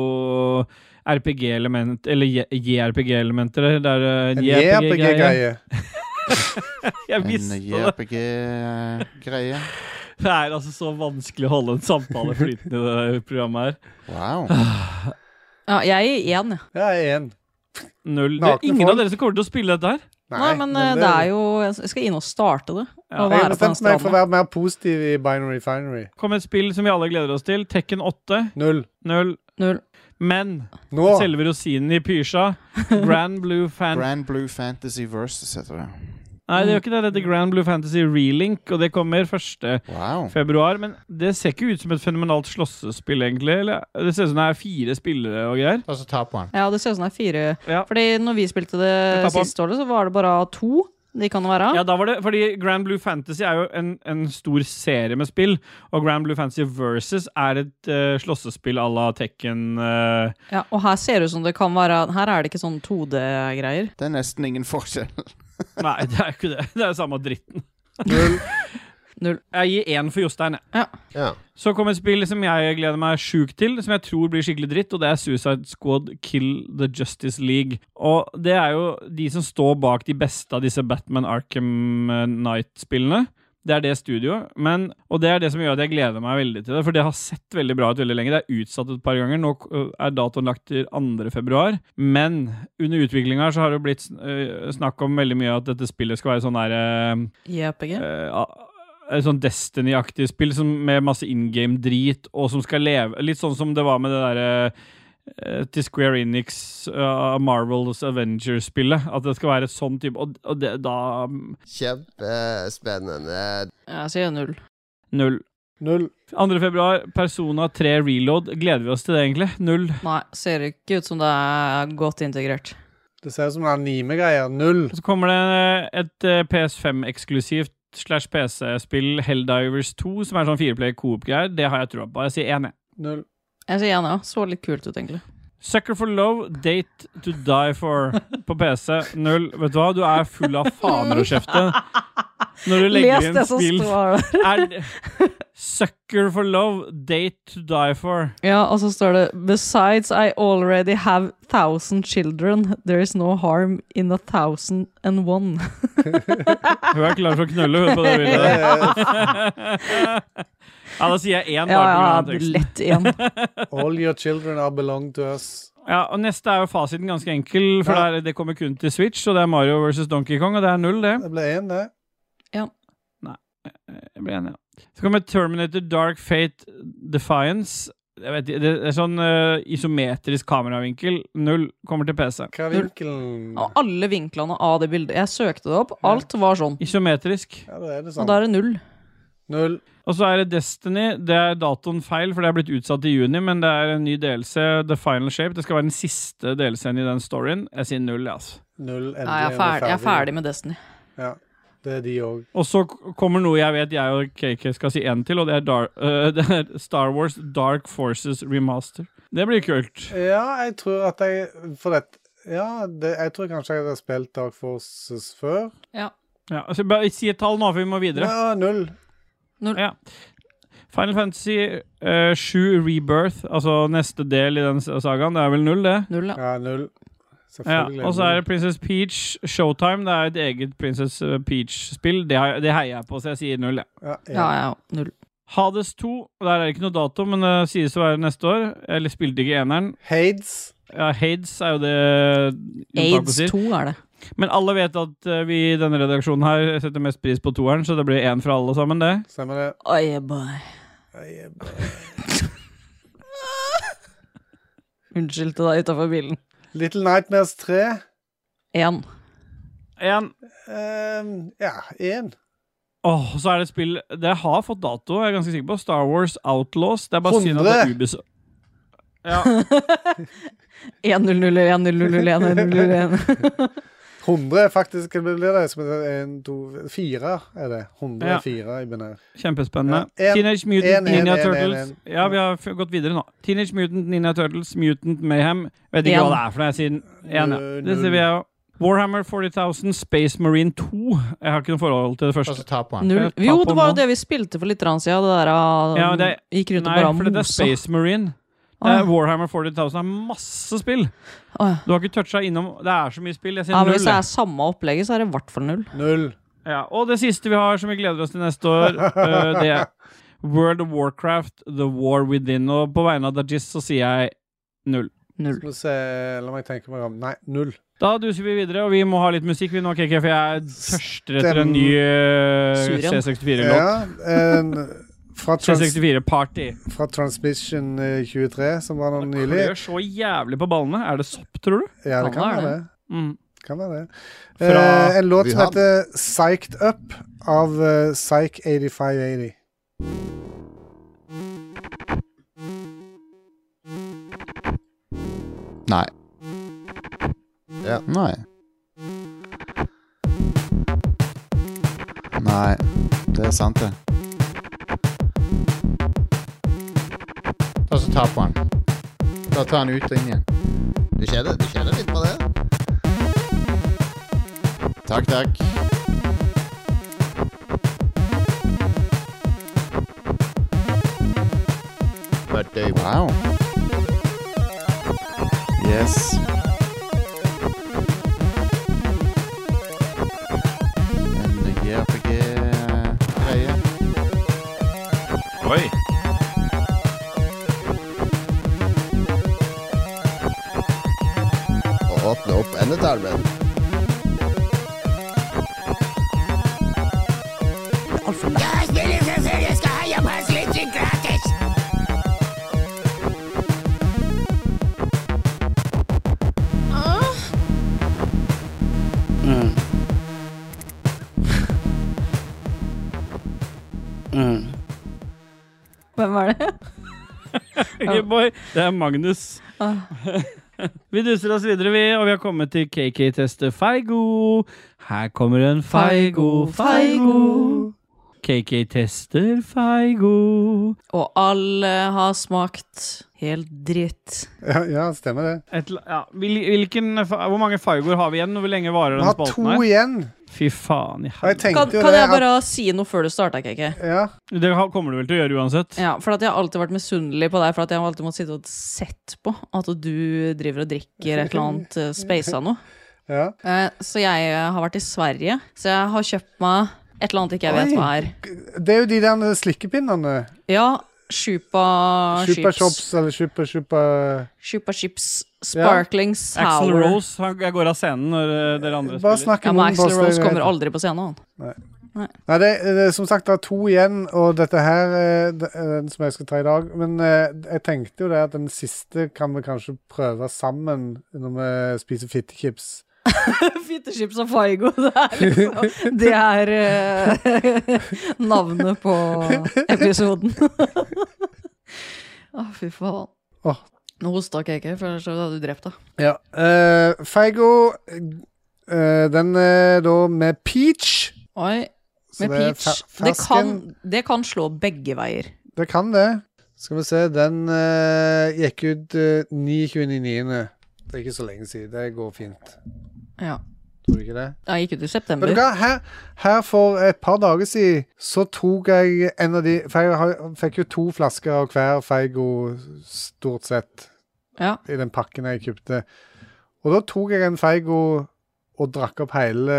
RPG-element Eller J- JRPG-elementer. Det er eh, En JRPG-greie. JRPG-greie. Jeg En visste det! JRPG-greie. Det er altså så vanskelig å holde en samtale flytende i det programmet her. Wow. Ja, jeg er i én, jeg. Ja, én. Null. Det Nakne er ingen folk. av dere som kommer til å spille dette her. Nei, men, eh, det er jo Jeg skal inn og starte det. Ja. og Jeg har være på den bestemt meg for stranda. å være mer positiv i Binary Finery. Kom et spill som vi alle gleder oss til. Tekken 8. Null. Null. Null. Men Nå! selve rosinen i pysja, Grand Blue Fan Grand Blue Fantasy Versus heter det. Nei, det gjør ikke det. Det heter Grand Blue Fantasy Relink, og det kommer 1. Wow. februar. Men det ser ikke ut som et fenomenalt slåssespill, egentlig. Eller, det ser ut som det er fire spillere og greier. Og så ta på han. Ja, det ser ut som det er fire Ja. Fordi når vi spilte Jeg tar det på den. siste året, så var det bare to. De kan det være. Ja, da var det, fordi Grand Blue Fantasy er jo en, en stor serie med spill, og Grand Blue Fantasy Versus er et eh, slåssespill à la Tekken eh, Ja, og her ser det ut som det kan være Her er det ikke sånn 2D-greier. Det er nesten ingen forskjell. Nei, det er ikke det. Det er samme dritten. Null. Jeg gir én for Jostein. jeg. Ja. Så kom et spill som jeg gleder meg sjukt til, som jeg tror blir skikkelig dritt, og det er Suicide Squad Kill the Justice League. Og det er jo de som står bak de beste av disse Batman Arkham Night-spillene. Det er det studioet, men, og det er det som gjør at jeg gleder meg veldig til det. For det har sett veldig bra ut veldig lenge. Det er utsatt et par ganger. Nå øh, er datoen lagt til 2. februar. Men under utviklinga så har det blitt øh, snakk om veldig mye at dette spillet skal være sånn derre JPG. Eh, a- et sånn Destiny-aktig spill som, med masse in game-drit, og som skal leve Litt sånn som det var med det derre eh, til Square Enix, eh, Marvels Avengers-spillet. At det skal være et sånn type Og, og det, da mm, Kjempespennende. Jeg sier null. Null. Null. 2. februar, Persona 3 Reload. Gleder vi oss til det, egentlig? Null. Nei, ser ikke ut som det er godt integrert. Det ser ut som en anime-greie. Null. Og så kommer det eh, et eh, PS5-eksklusivt slash PC-spill, Helldivers 2, som er sånn fireplay coop-greier. Det har jeg trua på. Jeg sier én, jeg. Null. Jeg sier ja, så litt kult ut, egentlig. Sucker for love, date to die for på PC. Null. Vet du hva, du er full av faner og kjefte når du legger Les inn det som spill. står der. Er det- Sucker for love, date to die for. Ja, og så står det Besides I already have thousand children, there is no harm in a thousand and one. Hun er klar for å knulle, hun, på det Det bildet. er Ja, da sier jeg én. Ja, ja, bare på grunn av teksten. lett igjen. All your children are belong to us. Ja, og neste er jo fasiten ganske enkel, for Ja. det, er, det kommer kun til Switch, og det er Mario versus Donkey Kong, og det er null, det. Det ble én, det. Eh, Jeg blir enig, ja. Så kommer Terminator Dark Fate Defiance. Jeg vet, ikke, det er sånn eh, isometrisk kameravinkel. Null kommer til PC. Hva er Null. vinkelen? Og alle vinklene av det bildet. Jeg søkte det opp, alt var sånn. Isometrisk. Ja, da er Og det sånn. da er det null. Null. Og så er det Destiny. Det er datoen feil, for det er blitt utsatt i juni, men det er en ny delelse, The Final Shape. Det skal være den siste delelsen i den storyen. Jeg sier null, jeg, altså. Null. Endelig Nei, jeg er ferdig, jeg er ferdig med Destiny. Ja. Det er de òg. Og så k- kommer noe jeg vet jeg og KK skal si én til, og det er, Dar eh, det er Star Wars Dark Forces Remaster. Det blir kult. Ja, jeg tror at jeg For det Ja, det, jeg tror kanskje jeg hadde spilt Dark Forces før. Ja, altså, bare si et tall nå, for vi må videre. Ja, null. Final Fantasy eh, 7 Rebirth, altså neste del i den s- sagaen, det er vel null, det? Null, ja. Ja, null. Ja, Selvfølgelig. og så er det Princess Peach Showtime. Det er et eget Princess eh, Peach-spill. Det, har- det heier jeg på, så jeg sier null, jeg. ja, Ja, ja. ja, null. Hades 2, og der er det ikke noe dato, men det sies å være neste år. Eller spilte ikke eneren. Hades. Ja, Hades er jo det unntaket Aids sier. 2 er det. Men alle vet at eh, vi i denne redaksjonen her setter mest pris på toeren, så det blir én fra alle sammen, det. Stemmer det. Oi, boy. Nei, jeg- Unnskyld til deg utafor bilen. Little Nightmares 3. Én. Én. ehm, ja, én. Åh, så er det et spill Det har fått dato, jeg er ganske sikker på. Star Wars Outlaws. Det er bare synd at det er 100. Ubis... Ja, 1-0-0-1-0-0-1-0-0-1. 100 er faktisk Hva blir det? Som er en, to, fire er det. 104 i binær. kjempespennende. Ja, en- Teenage Mutant en, en, Ninja en, en, Turtles. en. Ja, vi har f- gått videre nå. Teenage Mutant Ninja Turtles, Mutant Mayhem. Vet ikke En. hva det er for noe, jeg sier én, ja. Null. Det sier vi, ja. Warhammer 40,000 Space Marine 2. Jeg har ikke noe forhold til det Og så Altså, første. ta på den. Null. Jo, det var jo det vi spilte for litt rann siden. Det der ah, Ja, det- gikk rundt og Nei, bare for det er mosa. Space Marine. Å, ja. Eh, Warhammer 40,000 er masse spill. Å, ja. Du har ikke toucha innom Det er så mye spill. Jeg sier Ja, men null. hvis det jeg. er samme opplegget, så er det i hvert fall null. Null. Ja, og det siste vi har som vi gleder oss til neste år, øh, det er World of Warcraft, The War Within. Og på vegne av Dajis så sier jeg null. Null. Skal vi se, la meg tenke meg om. Nei, null. Da duser vi videre, og vi må ha litt musikk vi nå, KK, for jeg tørster etter en ny øh, Surian. C64-låt. Ja, en, eh, fra, trans, C64-party. fra Transmission eh, 23, som var nå Det nylig. klør så jævlig på ballene. Er det sopp, tror du? Ja, det Kan kan være være det. det. Mm. Kan være det. Fra eh, en låt som Wuhan. heter Psyched Up av eh, Psych 8580. Nei. Ja. Nei. Nei. Det er sant, det. Og så ta på den. Da tar han ut og inn igjen. Du kjenner, du kjenner litt på det? Takk, takk. Wow. Yes. NDG, RPG, greie. Oi. Og åpne opp endetarmen. Hvem er det? Okay, boy. Det er Magnus. Ah. Vi duser oss videre, vi, og vi har kommet til KK-teste Feigo. Her kommer en Feigo, Feigo. KK tester Feigo. Og alle har smakt helt dritt. Ja, ja stemmer det. Et, eller- ja, hvil- hvilken, fa- hvor mange Feigoer har vi igjen? og Hvor lenge varer Vi den har to spalten her? igjen. Fy faen i Og jeg helvete. tenkte Kan, jo kan det jeg at- bare si noe før du starter, Keke? ja. Det ha- kommer du vel til å gjøre uansett? Ja, for at jeg har alltid vært misunnelig på deg, for at jeg har alltid måttet sitte og sett på at du driver og drikker et eller annet eh, speisa noe. ja. Eh, Så jeg eh, har vært i Sverige, så jeg har kjøpt meg et eller annet ikke jeg vet Oi. hva er. Det er jo de der slikkepinnene. Ja, Shupa Chips. Supershops eller super, super Shupa Chips Sparkling Axel Sour. Rose han, jeg går av scenen når eh, dere andre spiller. Bare snakk Ja, i men munnen på Axel oss. det Rose er greit. kommer aldri på scenen, han. Nei, det, det, er som sagt, det er to igjen, og dette her eh, det er den som jeg skal ta i dag. Men eh, jeg tenkte jo det at den siste kan vi kanskje prøve sammen når vi spiser fittechips. Fittechips og Faigo, det er liksom Det er eh, navnet på episoden. Å, fy faen. Åh. Nå hosta ikke jeg, for ellers hadde du drept deg. Ja. eh, Feigo, eh, den er da med peach. Oi, Så med det er peach. fe- Det kan, fersken. det kan slå begge veier. Det kan det. Skal vi se, den eh, gikk ut eh, 29.9. Det er ikke så lenge siden. Det går fint. Ja. Tror du ikke det? Jeg gikk ut i Vet du september. hva, her, her for et par dager siden så tok jeg en av de For jeg har, fikk jo to flasker av hver Feigo, stort sett, Ja. i den pakken jeg kjøpte. Og da tok jeg en Feigo og drakk opp hele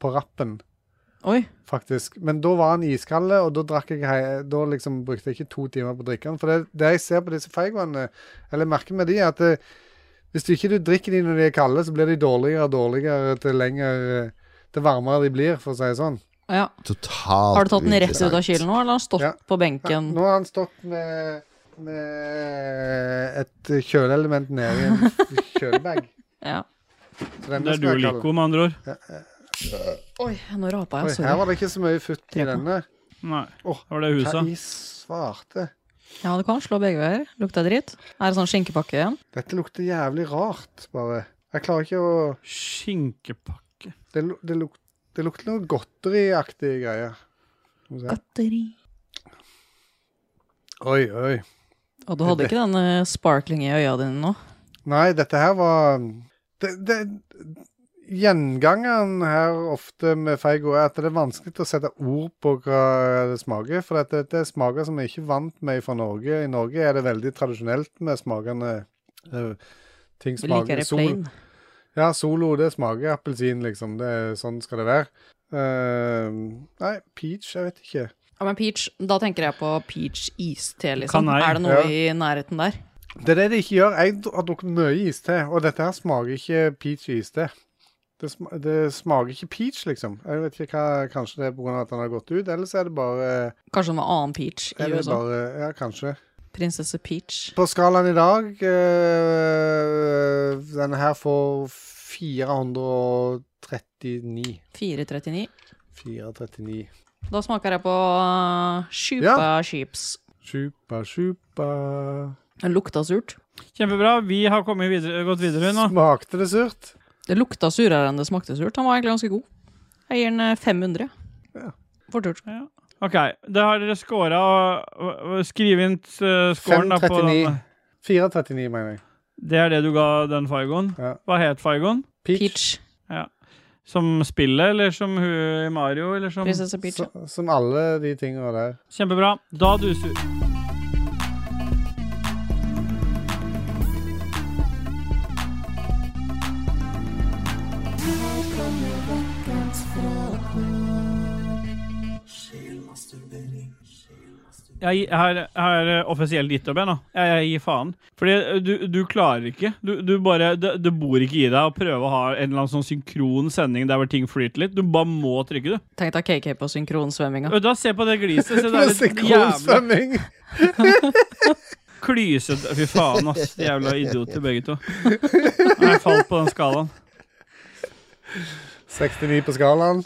på rappen, Oi. faktisk. Men da var han iskald, og da, drakk jeg, hei- da liksom brukte jeg ikke to timer på å drikke den. For det, det jeg ser på disse Feigoene, eller merker med de, er at eh, hvis du ikke du drikker de når de er kalde, så blir de dårligere og dårligere til lenger eh, til varmere de blir, for å si det sånn. Ja. Totalt Har du tatt den rett ut av uinteressant. kylen nå, eller har den stått Ja. på benken? Nå har han stått med, med et kjøleelement nede i en kjølebag. Ja. Så den Det er skal jeg kalle- Duolico, med andre ord. Oi, nå rapa jeg. Oi, her Sorry. var det ikke så mye futt i Tre på. denne. Nei. Åh, Det var det Hva huset. i svarte? Ja, det kan slå begge veier. Lukta dritt. Er det sånn skinkepakke igjen? Dette lukter jævlig rart, bare. Jeg klarer ikke å Skinkepakke. Det, lu- det, luk, det lukter noe godteriaktige greier. Skal vi se. Godteri. Oi, oi. Og du hadde ikke den eh, sparkling i øya dine nå? Nei, dette her var det, det, Gjengangeren her ofte med Feigo er at det er vanskelig å sette ord på hva det smaker. For at det, det er smaker som vi ikke er vant med fra Norge. I Norge er det veldig tradisjonelt med smakene eh, Ting Vi liker smaker det sol, plain. Ja, Solo, det smaker appelsin, liksom. Det, er- sånn skal det være. Eh, nei, peach, jeg vet ikke. Ja, men peach, Da tenker jeg på peach iste, liksom. Kanei, Er det noe ja. i nærheten der? Det er det det ikke gjør. Jeg har drukket mye iste, og dette her smaker ikke peach iste. Det, sm det smaker ikke peach, liksom. Jeg vet ikke hva, Kanskje det er pga. at den har gått ut, eller så er det bare, Kanskje noe annen peach i er sånn. det USA? bare Ja, kanskje. Prinsesse Peach. På skalaen i dag øh, Denne her får 439. 439. 439. Da smaker jeg på uh, Shupa Ja. Chips. Super, super Den lukta surt. Kjempebra. Vi har kommet videre, gått videre nå. Smakte det surt? Det lukta surere enn det smakte surt. Han var egentlig ganske god. Jeg gir den eh, 500. Ja. Fort gjort. Ok, da har dere scora Skriv inn eh, scoren da på 539. den. 439, mener jeg. Det er det du ga den Faigoen. Ja. Hva het Faigoen? Peach. Som spillet, eller som hun i Mario? Eller som Prinsesse Peach. ja. Så, som alle de tinga der. Kjempebra. Da duser vi. Jeg gi- jeg har, jeg har eh, offisielt gitt opp, jeg nå. Jeg, jeg gir faen. Fordi eh, du, du klarer ikke. Du, du bare, det, det bor ikke i deg å prøve å ha en eller annen sånn synkron sending der hvor ting flyter litt. Du bare må trykke, du. Tenk deg KK på synkronsvømminga. Vet du hva, se på det gliset. Se, det Med er litt jævla synkronsvømming. klysete Fy faen, ass. De Jævla idioter, begge to. Nei, Jeg falt på den skalaen. 69 på skalaen.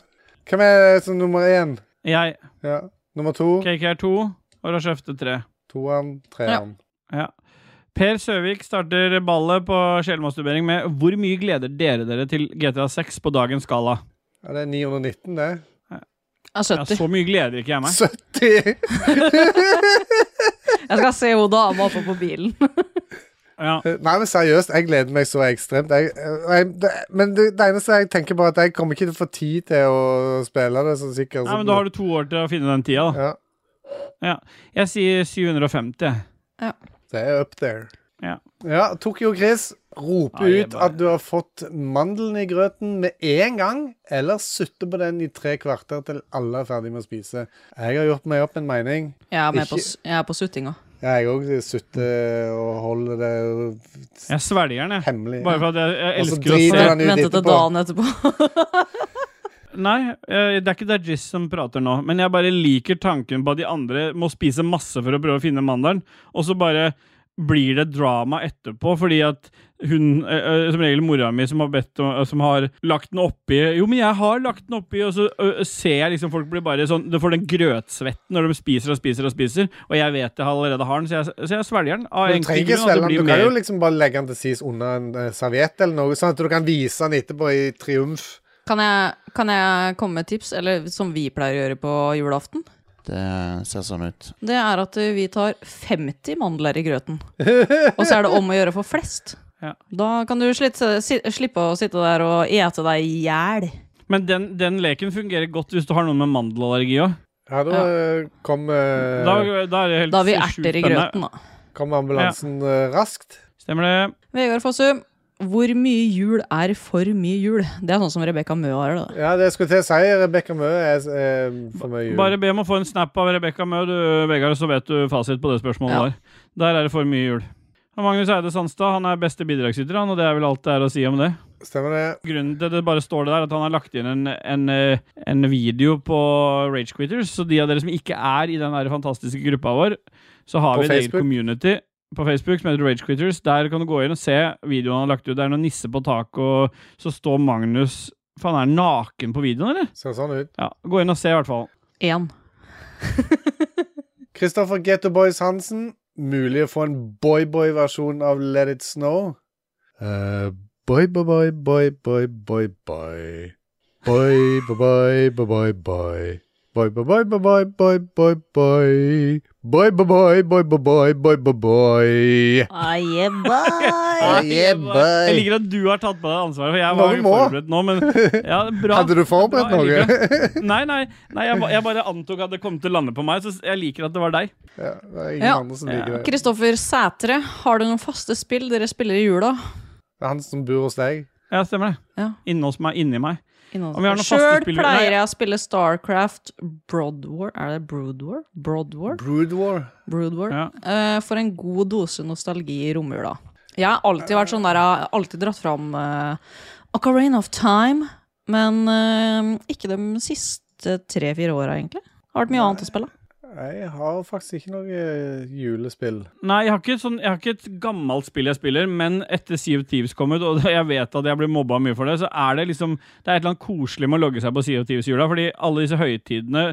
Hvem er som nummer én? Jeg Ja. Nummer to, KK er to, og Rashefte tre. toeren, treeren. Ja. Per Søvik starter ballet på sjelmasturbering med Hvor mye gleder dere dere til GTA 6 på dagens skala? Ja, det er 919, det. Jeg er Ja, 70. så mye gleder ikke jeg meg. 70! Jeg skal se hun dama oppe på bilen. Ja. Nei, men seriøst, jeg gleder meg så ekstremt. Jeg, jeg, det, men det, det eneste jeg tenker på, er at jeg kommer ikke til å få tid til å spille det så sikkert. Nei, men Da har du to år til å finne den tida. da. Ja, Jeg sier 750. det er up there. Ja. ja Tokyo Chris roper Ja, jeg ut bare- at du har fått mandelen i grøten med en gang, eller sutte på den i tre kvarter til alle er ferdig med å spise. Jeg har gjort meg opp en mening. Jeg er, med på, Ikke- s- jeg er på suttinga. Jeg òg sutter og holder det Jeg svelger den, jeg. hemmelig. Bare for at jeg, jeg Og så elsker å driter se han ut Vente til etterpå. dagen etterpå. Nei, eh, det er ikke Dajis som prater nå, men jeg bare liker tanken på at de andre må spise masse for å prøve å finne mandelen, og så bare blir det drama etterpå, fordi at hun, eh, eh, som regel mora mi, som har, bedt, om- eh, som har lagt den oppi Jo, men jeg har lagt den oppi, og så eh, ser jeg liksom folk blir bare sånn Du får den grøtsvetten når de spiser og spiser og spiser, og jeg vet jeg allerede har den, så jeg, så jeg svelger den. Av Men enkel Du trenger ikke grunn, og det svelge blir den. Du kan mer- jo liksom bare legge den til sides under en eh, serviett eller noe, sånn at du kan vise den etterpå i triumf. Kan jeg, kan jeg komme med et tips, eller som vi pleier å gjøre på julaften? Det ser sånn ut. Det er at eh, vi tar 50 mandler i grøten. Og så er det om å gjøre for flest. Ja. Da kan du slite, si, slippe å sitte der og ete deg i hjel. Men den, den leken fungerer godt hvis du har noen med mandelallergi òg. Ja, da Ja. eh, kom, eh, Da, da er det helt Da har vi sjukt erter i spennende. grøten, da. kom ambulansen eh, raskt. Stemmer det. Vegard Fossum, hvor mye jul er for mye jul? Det er sånn som Rebekka Mø har det. da. Ja, det jeg skulle til å si, Rebekka Mø, er eh, for mye jul. Bare be om å få en snap av Rebekka Mø, du, Vegard, så vet du fasit på det spørsmålet Ja. der. Der er det for mye jul. Og Magnus Eide Sandstad han er beste bidragsyter, han, og det er vel alt det er å si om det. Stemmer det? Grunnen til at det bare står det der, at han har lagt inn en, en, eh, en video på Rage Quitters, så de av dere som ikke er i den der fantastiske gruppa vår, så har På vi et eget Facebook. community på Facebook som heter Rage Quitters. Der kan du gå inn og se videoen han har lagt ut. Det er noen nisse på taket, og så står Magnus Faen, er han naken på videoen, eller? Ser sånn ut. Ja, Gå inn og se, i hvert fall. Én. Kristoffer Getto Boys Hansen. Mulig å få en boy-boy-versjon av Let It Snow. Eh, boy, boy, boy, boy, boy, boy, boy. Boy, boy, boy, boy, boy, boy. Boy, boy, boy, boy, boy, boy, boy. Boy, boy, boy, boy, boy, boy, boy, boy, boy. Oh, yeah, Jeg boy. liker at du har tatt på deg ansvaret, for jeg var Noen jo må. forberedt nå, men ja, det er bra. Hadde du forberedt Bra, jeg noe? Nei, nei, nei jeg, ba- jeg bare antok at det kom til å lande på meg, så jeg liker at det var deg. ja, det er ingen Ja. andre som liker det. Kristoffer Sætre, har du noen faste spill dere spiller i jula? Det er han som bor hos deg. Ja, stemmer det. Ja. Inni hos meg, inni meg. Om vi har noen faste Sjøl spill- Nei. pleier jeg å spille Starcraft Broadwar Er det Broodwar? Broadwar? Brood War. Broodwar. Ja. Eh, for en god dose nostalgi i romjula. Jeg har alltid vært sånn der, jeg har alltid dratt fram uh, Ocarina of Time, men eh, ikke de siste tre-fire åra, egentlig. Har vært mye annet å spille. Jeg har faktisk ikke noe eh, julespill. Nei, jeg har, ikke et sånn, jeg har ikke et gammelt spill jeg spiller, men etter Sea of Thieves kom ut, og jeg vet at jeg blir mobba mye for det, så er det liksom Det er et eller annet koselig med å logge seg på Sea of Thieves-jula, fordi alle disse høytidene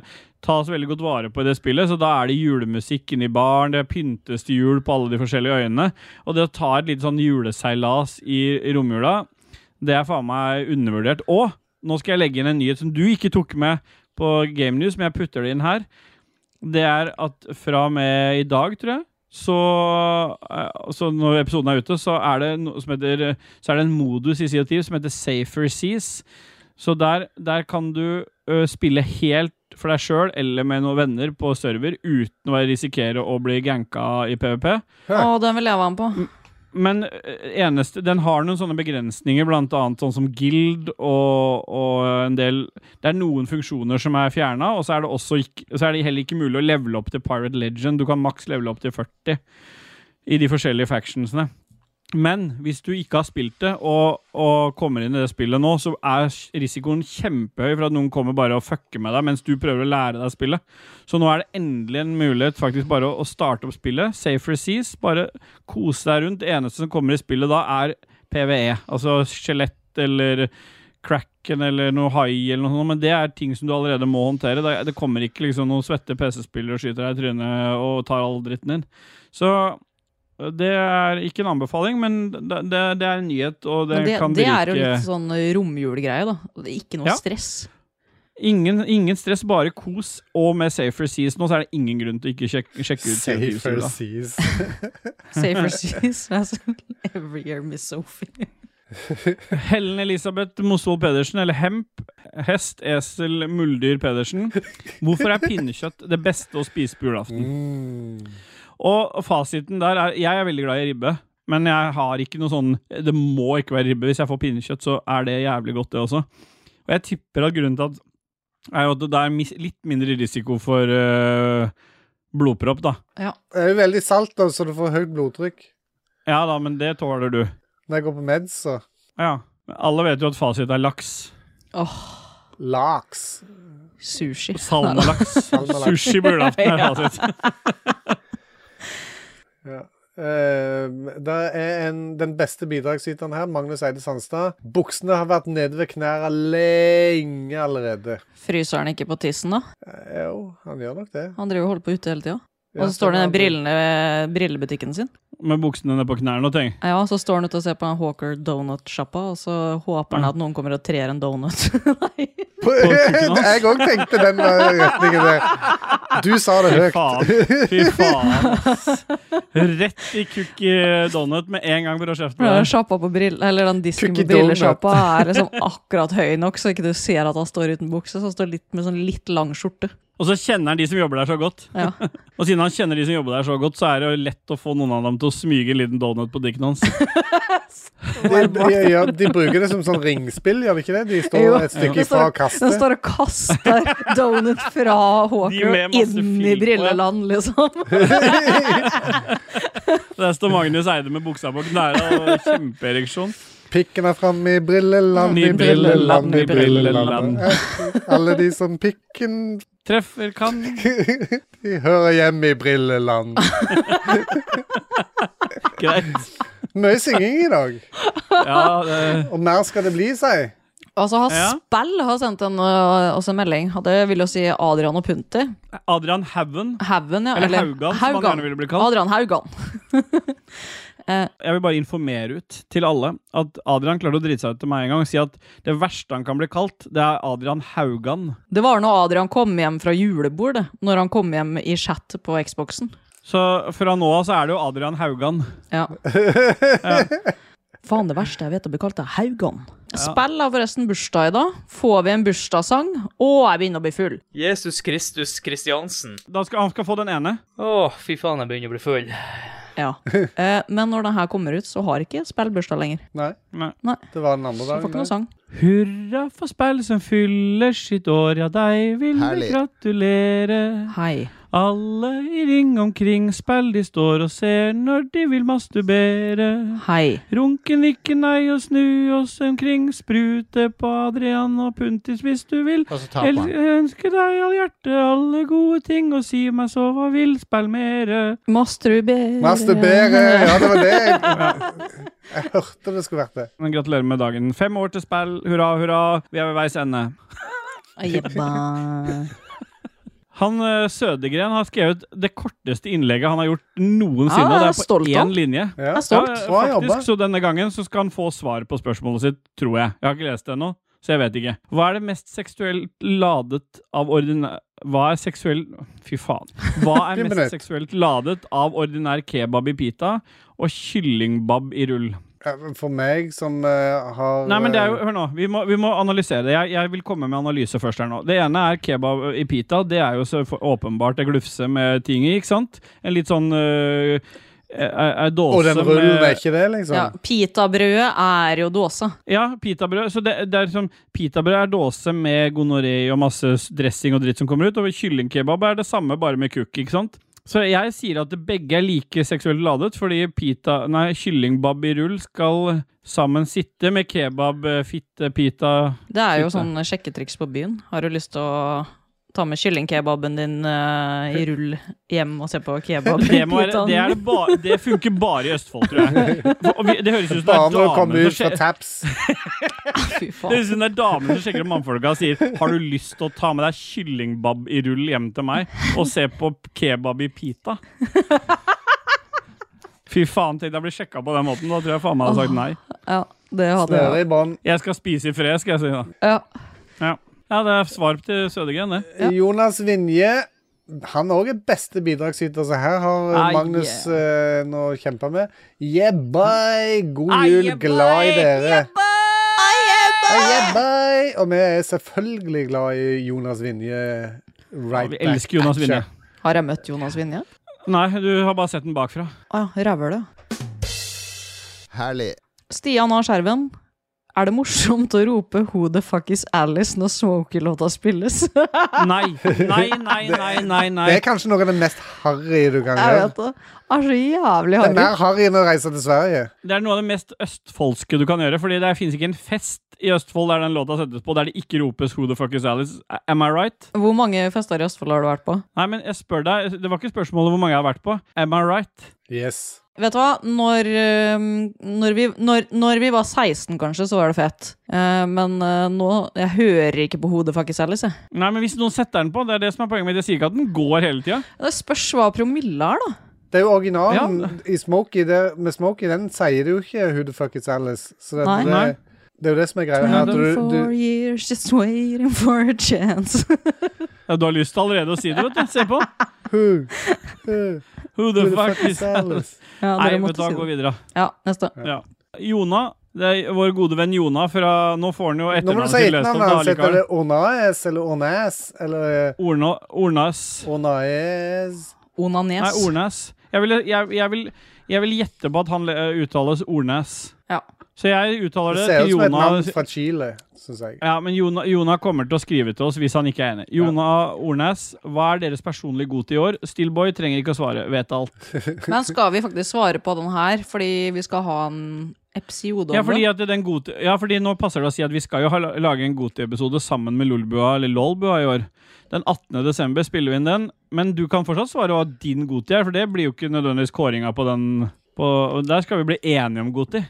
tas veldig godt vare på i det spillet, så da er det julemusikk inne i baren, det pyntes til jul på alle de forskjellige øyene, og det å ta et lite sånn juleseilas i, i romjula, det er faen meg undervurdert. Og nå skal jeg legge inn en nyhet som du ikke tok med på Game News, men jeg putter det inn her. Det er at fra og med i dag, tror jeg, så, eh, så når episoden er ute, så er det noe som heter eh, Så er det en modus i CO2 som heter Safer Seas. Så der, der kan du ø, spille helt for deg sjøl eller med noen venner på server uten å risikere å bli ganka i PVP. Ja. Mm, Å, den vil jeg være med på. men eh, eneste, den har noen sånne begrensninger, blant annet sånn som guild og, og en del Det er noen funksjoner som er fjerna, og så er, det også ikke, så er det heller ikke mulig å levele opp til Pirate Legend. Du kan maks levele opp til 40 i de forskjellige factionsene. Men hvis du ikke har spilt det, og, og kommer inn i det spillet nå, så er risikoen kjempehøy for at noen kommer bare og fucker med deg mens du prøver å lære deg spillet. Så nå er det endelig en mulighet faktisk bare å, å starte opp spillet. Safe Seas, bare kose deg rundt. Det eneste som kommer i spillet da, er PVE. Altså skjelett eller Kraken eller noe hai eller noe sånt, men det er ting som du allerede må håndtere. Det, det kommer ikke liksom noen svette PC-spillere og skyter deg i trynet og tar all dritten din. Så øh, det er ikke en anbefaling, men det, det, det er en nyhet, og det, Men det, kan det er jo berike- litt sånn romjulgreie, da. Og det er Ikke noe Ja. stress. Ingen, ingen stress, bare kos. Og med Safer Seas nå, så er det ingen grunn til å ikke sjekke, sjekke ut Safer Safer seas. Safer seas. Altså, Every year Miss Sophie. Helen Elisabeth Mosvold Pedersen, eller Hemp. Hest, esel, muldyr Pedersen. Hvorfor er pinnekjøtt det beste å spise på julaften? Mm. Og fasiten der er Jeg er veldig glad i ribbe, men jeg har ikke noe sånn Det må ikke være ribbe. Hvis jeg får pinnekjøtt, så er det jævlig godt, det også. Og jeg tipper at grunnen til at er jo at det er mis- litt mindre risiko for øh, blodpropp, da. Det er jo veldig salt, da, så du får høyt blodtrykk. Ja da, men det tåler du. Når jeg går på meds, så Ja. Men alle vet jo at fasit er laks. Åh, Laks. sushi. Salmalaks. Salmalaks. Sushi på julaften er fasit. Eh, det er en, den beste bidragsyteren her, Magnus Eide Sandstad. Buksene har vært nede ved knærne lenge allerede. Fryser han ikke på tissen, da? Eh, Jo, han gjør nok det. Han driver og holder på ute hele tida. Og Ja, så står det i han- den brillene ved brillebutikken sin. Med buksene ned på knærne og ting. Ja, så står han ute og ser på den Hawker Donut-sjappa, og så håper han at noen kommer og trer en donut. Nei. kjøkkenet hans. Jeg òg tenkte den eh, retningen der. Du sa det Fy høyt. faen. Fy faen. ass. Rett i cookie donut med en gang, bror For Den Skjeften. sjappa på brill, eller den disken Cookie på brillesjappa er liksom akkurat høy nok, så ikke du ser at han står uten bukse, så han står litt med sånn litt lang skjorte. Og så kjenner han de som jobber der, så godt. Ja. Og siden han kjenner de som jobber der så godt, så er det jo lett å få noen av dem til å smyge en liten donut på dikken hans. De, de, gjør- de bruker det som sånn ringspill, gjør de ikke det? De Jo. står et stykke Den står, ifra og kaster. den står og kaster donut fra De med Hawker masse inn i fyll på, ja. brilleland, liksom. Der står Magnus Eide med buksa på knærne og kjempeereksjon. Pikken er framme i brilleland, I i brilleland, i brilleland. brilleland. Eh, Alle de som pikken Treffer kan De hører hjemme i brilleland. Greit. Mye synging i dag. Ja, det, Og mer skal det bli, sier Altså, har Ja. Spell har sendt en, øh, oss en melding. Og Det vil jo si Adrian og Punti. Adrian Haugen. Haugen, ja. Eller Haugan, som han gjerne ville bli kalt. Adrian Haugan. Jeg vil bare informere ut til alle at Adrian klarte å drite seg ut til meg en gang og si at det verste han kan bli kalt, det er Adrian Haugan. Det var når Adrian kom hjem fra julebord, det. Når han kom hjem i chat på Xboxen. Så fra nå av så er det jo Adrian Haugan. Ja. Faen, det verste jeg vet å bli kalt, er Haugan. Spill har forresten bursdag i dag. Får vi en bursdagssang? Å, jeg begynner å bli full. Jesus Kristus Kristiansen. Da skal, han skal få den ene. Å, fy faen, jeg begynner å bli full. Ja. Eh, men når den her kommer ut, så har ikke Spill bursdag lenger. Nei. Nei. Det var den Så andre får dagen. ikke noe det. sang. Hurra for speil som fyller sitt år, ja deg vil vi Herlig. gratulere. Hei. Alle i ring omkring speil de står og ser når de vil masturbere. Hei. Runken ikke nei og snu oss omkring, sprute på Adrian og Puntis hvis du vil. Og så Jeg taper han. ønsker deg all hjerte, alle gode ting, og si meg så hva vil, spill mere. Masturbere. Masturbere. Ja, det var det. Jeg, jeg hørte det skulle vært det. Men gratulerer med dagen. Fem år til spill, hurra, hurra, vi er ved veis ende. Jebba. Han eh, Sødegren har skrevet det korteste innlegget han har gjort noensinne. Ah, og det er på stolt av. én linje. Ja. Jeg er stolt. Ja, eh, Bra jobba. faktisk, så denne gangen så skal han få svar på spørsmålet sitt, tror jeg. Jeg har ikke lest det ennå, så jeg vet ikke. Hva er det mest seksuelt ladet av ordinær Hva er seksuell Fy faen. Hva er Fem mest minutter. seksuelt ladet av ordinær kebab i pita og kyllingbab i rull? Ja, men For meg som eh, har Nei, men det er jo, eh, hør nå, vi må, vi må analysere det. Jeg, jeg vil komme med analyse først her nå. Det ene er kebab i pita. Det er jo så for- åpenbart det glufse med ting i, ikke sant? En litt sånn øh, er dåse Og den rullen eh, er ikke det, liksom? Ja, Pitabrødet er jo dåsa. Ja, pitabrød. Så det, det er sånn, pitabrød er dåse med gonoré og masse s- dressing og dritt som kommer ut. Og kyllingkebab er det samme, bare med kukk, ikke sant? Så jeg sier at begge er like seksuelt ladet, fordi pita, nei, kyllingbab i rull skal sammen sitte med kebab, eh, fitte, pita Det er jo Fitte. sånn sjekketriks på byen. Har du lyst til å ta med kyllingkebaben din eh, i rull hjem og se på kebab? Det, må være, det, er det, ba, det funker bare i Østfold, tror jeg. For- Og vi, det høres ut som det Bare er når du damen kommer som ut fra sje- taps. Fy Det faen. er sånn der damen som sjekker om mannfolka og sier Har du lyst til å ta med deg kyllingbab i rull hjem til meg og se på kebab i pita? Fy faen, tenk deg å bli sjekka på den måten. Da tror jeg faen meg hadde sagt nei. Ja, det hadde Snøre i bånd. Jeg skal spise i fred, skal jeg si da. Ja. Ja, ja det er svar til Sødegren, det. Jonas Vinje. Han òg er også beste bidragsyter, så her har eh, Ah, Magnus eh, noe å kjempe med. Yeah, bye! God Ah, jul, yeah, glad i bye! dere. Ah, yeah, bye! Og vi er selvfølgelig glad i Jonas Vinje. Right Vi back elsker Jonas at Vinje. you. Har jeg møtt Jonas Vinje? Nei, du har bare sett den bakfra. Å ja, rævhølet. Herlig. Stian A. Skjerven. Er det morsomt å rope 'Who the fuck is Alice' når Smokey-låta spilles? Nei, nei, nei, nei, nei. nei. Det er kanskje noe av det mest harry du kan Jeg gjøre. vet det. Det er så jævlig Det er harry. mer harry enn å reise til Sverige. Det er noe av det mest østfoldske du kan gjøre, fordi det finnes ikke en fest i Østfold der den låta settes på, der det ikke ropes 'Who the fuck is Alice'? Am I right? Hvor mange fester i Østfold har du vært på? Nei, men jeg spør deg, det var ikke spørsmålet hvor mange jeg har vært på. Am I right? Yes. Vet du hva, når, øhm, når, vi, når, når vi var 16 kanskje, så var det fett. Eh, men eh, nå Jeg hører ikke på hodet faktisk ellers, jeg. Nei, men hvis noen setter den på, det er det som er poenget mitt. Jeg sier ikke at den går hele tida. Det spørs hva promille er, da. Det er jo originalen i Smokey. Det, med Smokey den sier det jo ikke 'Who the fuck is Alice'. Så det, Nei. det, Nei. det er jo det som er greia her. at Du, 24 du, years just waiting for a chance. Ja, du har lyst til allerede å si det, vet du. Se på. who, who, Who the, fuck, is Alice? ja, Nei, dere vet måtte du hva, si gå det. videre. Ja, neste. Ja. Jona, det er vår gode venn Jona fra Nå får han jo Nå må etternavnet du si sitt et lest opp, navn. da, hans. Heter allikevel. det Onaes eller Onas eller eh, Orna, Ornas. Onaes? Nei, Onanes. Ornes. Jeg vil, jeg, jeg, vil, jeg vil gjette på at han eh, uttales Ornes. Ja. Så jeg uttaler Det det, ser ut til som et Jona. navn fra Chile, syns jeg. Ja, men Jona, Jona kommer til å skrive til oss hvis han ikke er enig. Jona Ornes, hva er deres personlige gode i år? Stillboy trenger ikke å svare, vet alt. Men skal vi faktisk svare på den her, fordi vi skal ha en episode om Ja, fordi, det? at den gode, ja, fordi nå passer det å si at vi skal jo ha, lage en gode-episode sammen med Lolbua eller Lolbua i år. Den 18. desember spiller vi inn den, men du kan fortsatt svare hva din gode er, for det blir jo ikke nødvendigvis kåringa på den. På, og der skal vi bli enige om gode.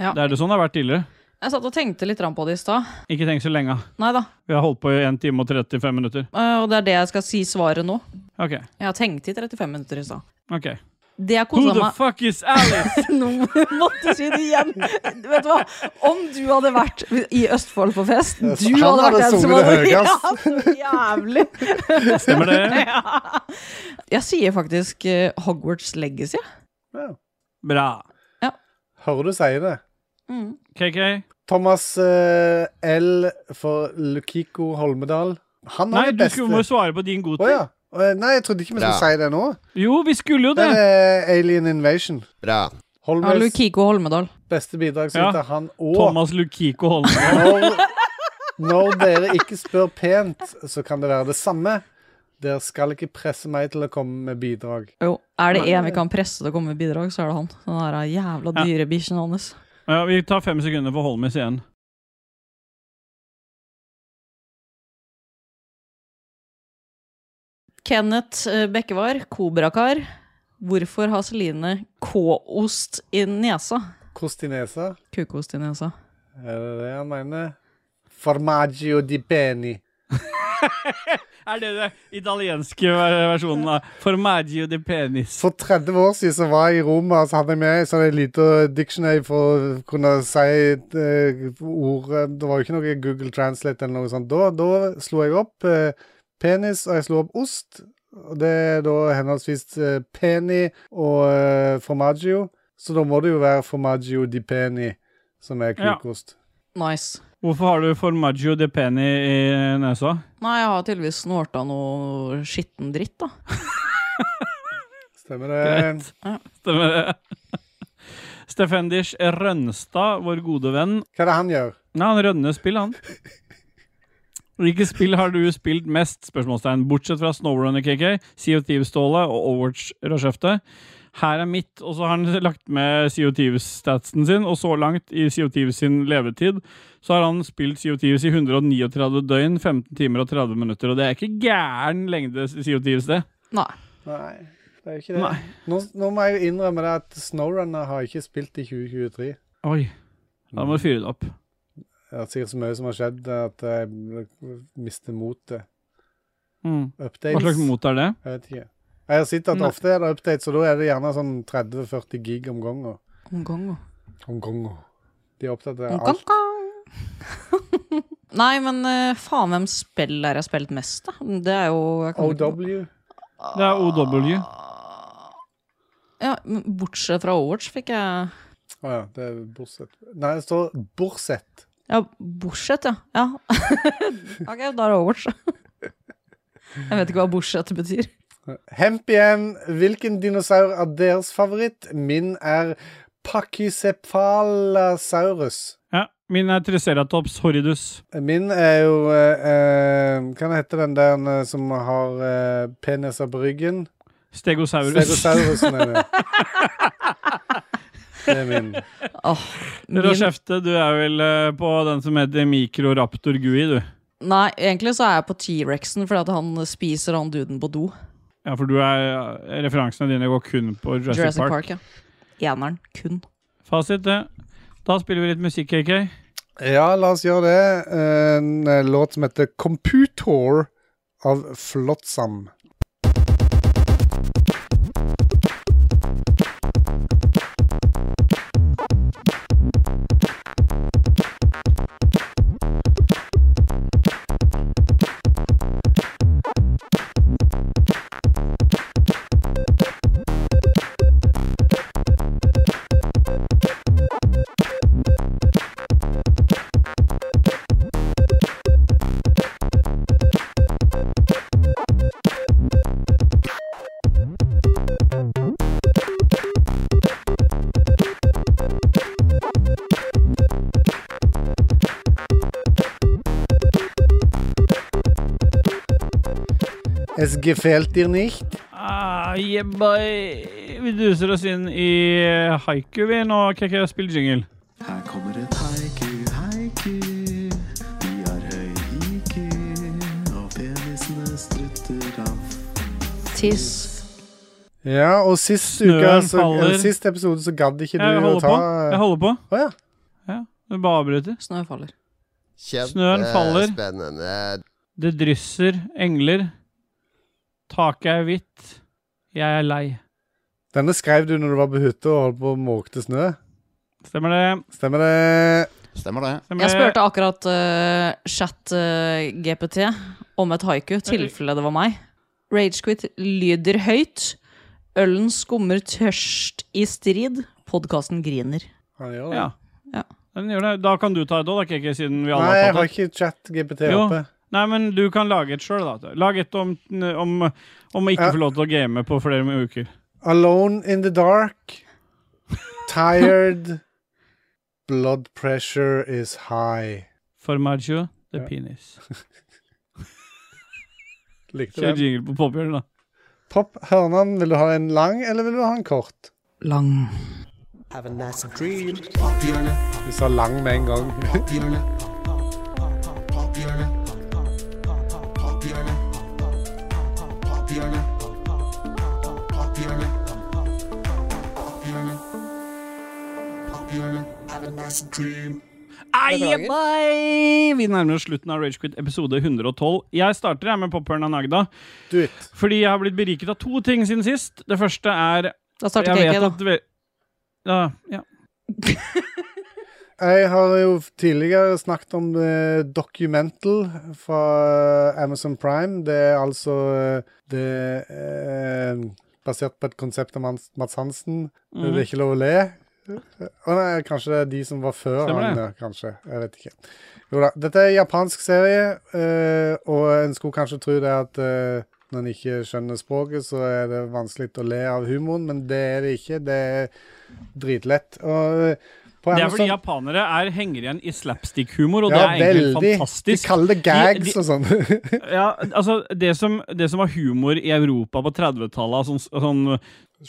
Ja. Det er det sånn det har vært tidligere. Jeg satt og tenkte litt grann på det i stad. Ikke tenk så lenge. Nei da. Vi har holdt på i 1 time og 35 minutter. Eh, Og det er det jeg skal si svaret nå. Ok, Jeg har tenkt i 35 minutter i stad. ok. Det jeg Who kosa the meg fuck is Alice? Nå måtte jeg si det igjen! Vet du hva? Om du hadde vært i Østfold på fest Yes, Du han hadde vært hadde den som sunget hadde Ja, det så jævlig! Stemmer det? Jeg sier faktisk eh, Hogwarts Legacy. Ja. Bra. Hører du sier det. Mm. KK? Thomas eh, L. for Lukiko Holmedal. Han Nei, er du det beste. skulle må svare på din Å godtid. ja. Eh, Nei, jeg trodde ikke vi skulle Bra. si det nå. Jo, vi skulle jo Det det. er Alien Invasion. Bra. Ja, Holmes Lukiko Holmedal. beste bidragsyter, Ja. han og Thomas Lukiko Holmberg. når, når dere ikke spør pent, så kan det være det samme. Dere skal ikke presse meg til å komme med bidrag. Jo, er det en vi kan presse til å komme med bidrag, så er det han. Den der eh, jævla Ja. dyrebikkjen hans. Ja, vi tar fem sekunder for Holmis igjen. Kenneth eh, Bekkevar, Kobrakar. Hvorfor har Celine K-ost i nesa? Kostinesa, Kukost i nesa. er det det han mener? Formaggio di beni. Er det det italienske ver- versjonen av Formaggio di penis? For 30 år siden så var jeg i Roma, så hadde jeg med sånn en liten dictionary for å kunne si et, eh, ord eh, Det var jo ikke noe Google Translate eller noe sånt. Da, da slo jeg opp eh, penis, og jeg slo opp ost. Og det er da henholdsvis eh, peni og eh, formaggio. Så da må det jo være formaggio di peni, som er Ja. kukost. Nice. Hvorfor har du Formaggio di peni i nesa? Nei, jeg har tydeligvis snorta noe skitten dritt, da. Stemmer det. Greit. Stemmer det. Stefendish Rønstad, vår gode venn. Hva er det han gjør? Nei, Han rønner spill, han. Hvilke spill har du spilt mest? spørsmålstegn, Bortsett fra Snowrunner KK, Sea of Thieves-Ståle og Overwatch Rødskjefte. Her er mitt, og så har han lagt med Sea of Thieves-statsen sin. Og så langt i Sea of Thieves sin levetid så har han spilt Sea of Thieves i 139 døgn, 15 timer og 30 minutter. Og det er ikke gæren lengde Sea of Thieves, det. Nei. Nei, det er jo ikke det. Nå, nå må jeg innrømme det at Snowrunner har jeg ikke spilt i 2023. Oi. Da må du fyre det opp. Det er sikkert så mye som har skjedd at jeg mister motet. Mm. Updates. Hva slags mot er det? Jeg vet ikke. Jeg har sett at Nei. ofte er det updates, og da er det gjerne sånn 30-40 gig om gangen. Om gangen. Om gangen. De er opptatt av Om alt. gangen. Nei, men eh, faen, hvem spill er jeg har spilt mest, da? Det er jo jeg kan ikke- OW. Det er OW. Ja, men bortsett fra Overwatch fikk jeg Å ja, det er Borsett. Nei, det står Borsett. Ja, bortsett, ja. ja. ok, da er det Overwatch. jeg vet ikke hva bortsett betyr. Hemp igjen. Hvilken dinosaur er deres favoritt? Min er Pachycephalosaurus. Ja, min er Triceratops horridus. Min er jo eh, eh, Hva den heter den der eh, som har eh, peniser på ryggen? Stegosaurus. Stegosaurusen er det. Det er min. Åh, min- Rashefte, du er vel eh, på den som heter mikroraptor gui, du. Nei, egentlig så er jeg på T-rexen fordi at han spiser han duden på do. Ja, for du er, eh, referansene dine går kun på Jurassic, Jurassic Park. Park, ja. Eneren, kun. Fasit, det. Da spiller vi litt musikk, KK. Ja, la oss gjøre det. En eh, låt som heter Computor av Flotsam. Es gefällt dir nicht? Ah, yeah, boy. vi duser oss inn i eh, haiku, vi nå, KK. Spill jingle. Her kommer et haiku, haiku. De har høy IQ, og penisene strutter av. Tiss. Ja, og sist, Snøen uke, så, faller. eller sist episode så gadd ikke Jeg du å holder ta på. Jeg holder på. Å ja. ja. Du bare avbryter. Snø faller. Snøen faller. Kjempespennende. Det drysser engler. Taket er hvitt. Jeg er lei. Denne skrev du når du var på hytta og holdt på å måke snø. Stemmer det? Stemmer det? Stemmer det. Stemmer Jeg det? spurte akkurat eh, chat eh, GPT om et haiku, tilfelle det var meg. Ragequit lyder høyt. Ølen skummer tørst i strid. Podkasten griner. Han gjør det. Ja. Ja. Den gjør det. Da kan du ta et òg, da, KK, siden vi alle Nei, har jeg har tatt det. ikke chat-GPT Jo. oppe. Nei, men du kan lage et sjøl, da. Lag et om, om, om å ikke Ja. få lov til å game på flere uker. Alone in the dark. Tired. Blood pressure is high. Formaggio the Ja. penis. Likte Kjør den. jingle på pophjørnet, da. Pop Hørnan, vil du ha en lang, eller vil du ha en kort? Lang. Have a nice dream. Pophjørnet, Du sa lang med en gang. pophjørnet. Pophjørnet. Pophjørnet. Pophjørnet. Pophjørnet. Pophjørnet. Pophjørnet. Have a nice dream. Aie, bye! Vi nærmer oss slutten av Ragequit episode 112. Jeg starter her med pophjørnet av Nagda, Do it. fordi jeg har blitt beriket av to ting siden sist. Det første er Da starter Jeg vet KK, da. at ve- ja, ja. Jeg har jo tidligere snakket om eh, Documental fra eh, Amazon Prime. Det er altså eh, det eh, basert på et konsept av Mats Mats Hansen. Mhm. Det er ikke lov å le. Å nei, kanskje det er de som var før Stemmer han, det. eh, kanskje. Jeg vet ikke. Jo da. Dette er en japansk serie, eh, og en skulle kanskje tro det at eh, Når en ikke skjønner språket, så er det vanskelig å le av humoren, men det er det ikke. Det er dritlett. Og eh, på Det er Amazon- fordi japanere er, henger igjen i slapstick-humor, og Ja, det er egentlig veldig. fantastisk. De kaller det gags og sånn. ja, altså, det som, det som var humor i Europa på 30-tallet, sånn, sånn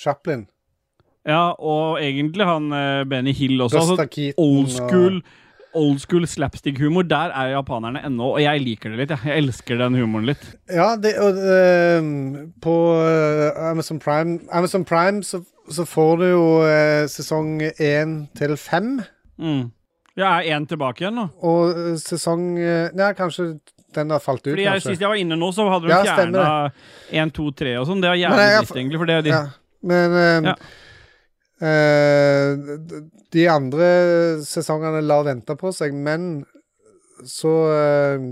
Chaplin. Ja, og egentlig han eh, Benny Hill også. Buster Altså, Keaton old school, old school slapstick-humor. Der er japanerne ennå, og jeg liker det litt. Jeg, jeg elsker den humoren litt. Ja, det, og, ehm, på eh, Amazon Prime, Amazon Prime så, så får du jo eh, sesong én til fem. Mm. Jeg er én tilbake igjen nå. Og eh, sesong eh, Nei, kanskje den har falt ut, Fordi jeg, kanskje. Sist jeg var inne nå, så hadde de Ja, stemmer fjerna 1, 2, 3 og sånn. Det er jævlig Men jeg- dritt, egentlig. For det er de Ja, men ehm, eh, d- d- De andre sesongene lar vente på seg, men så eh,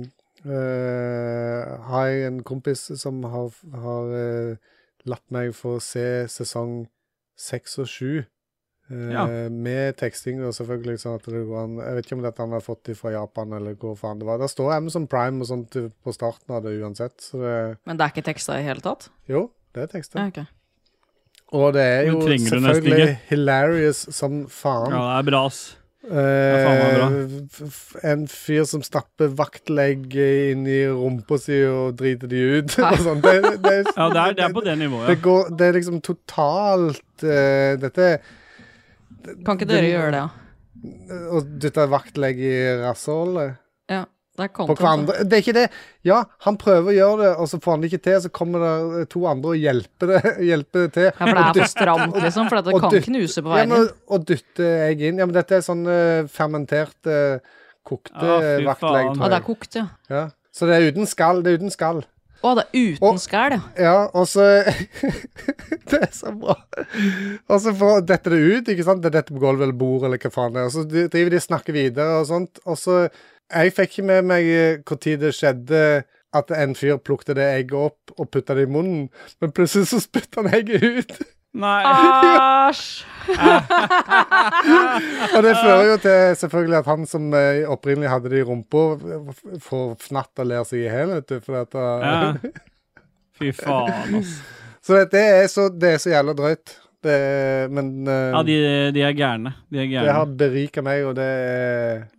eh, har jeg en kompis som har, har eh, latt meg få se sesong seks og sju. eh, Ja. Med teksting, og selvfølgelig. sånn at det går an Jeg vet ikke om dette han har fått det fra Japan, eller hvor faen det var. Der står Amazon Prime og sånt på starten av det uansett. Så det, Men det er ikke teksta i hele tatt? jo, det er tekster. Ja, ok. Og det er Men jo trenger du nesten selvfølgelig ikke. hilarious som faen. Ja, det er bra, ass. Det er faen meg Eh, f- f- en fyr som stapper vaktlegg inn i rumpa si og driter de ut. og sånn. Det, det, det, Ja, det er, det er på det nivået, det, ja. går, det er liksom totalt eh, Dette Kan ikke dere det- gjøre det, da? Å dytte vaktlegg i rasshølet Ja, det er på content. da. hverandre Det er ikke det. Ja, han prøver å gjøre det, og så får han det ikke til. Så kommer det to andre og hjelper det, hjelper det til. Ja, for det er for stramt, liksom. For at det Og kan dytt- knuse på veien Ja, inn. men, og dytte egg inn. Ja, men dette er sånn eh, fermentert eh, kokte Ja, fy eh, vaktlegg, faen. Ja, tror det er jeg. kokt, ja. Ja. Så det er uten skall. Det er uten skall. Å, det er uten skall, ja. Ja, og så Det er så bra. Og så får dette det ut, ikke sant. Det er dette på gulvet eller bordet eller hva faen det er. Og så de- driver de og snakker videre og sånt. Og så Jeg fikk ikke med meg når det skjedde at en fyr plukket det egget opp og putta det i munnen, men plutselig så spytta han egget ut. Nei. Æsj! Og det fører jo til selvfølgelig at han som eh, opprinnelig hadde det i rumpa, f- f- får fnatt og ler seg i hjel, vet du. For at, Ja. uh, Fy faen, ass. Så det, det, er så, det er så jævla drøyt. Det, er- men eh, Ja, de, de er gærne. De er det gærne. har berika meg, og det er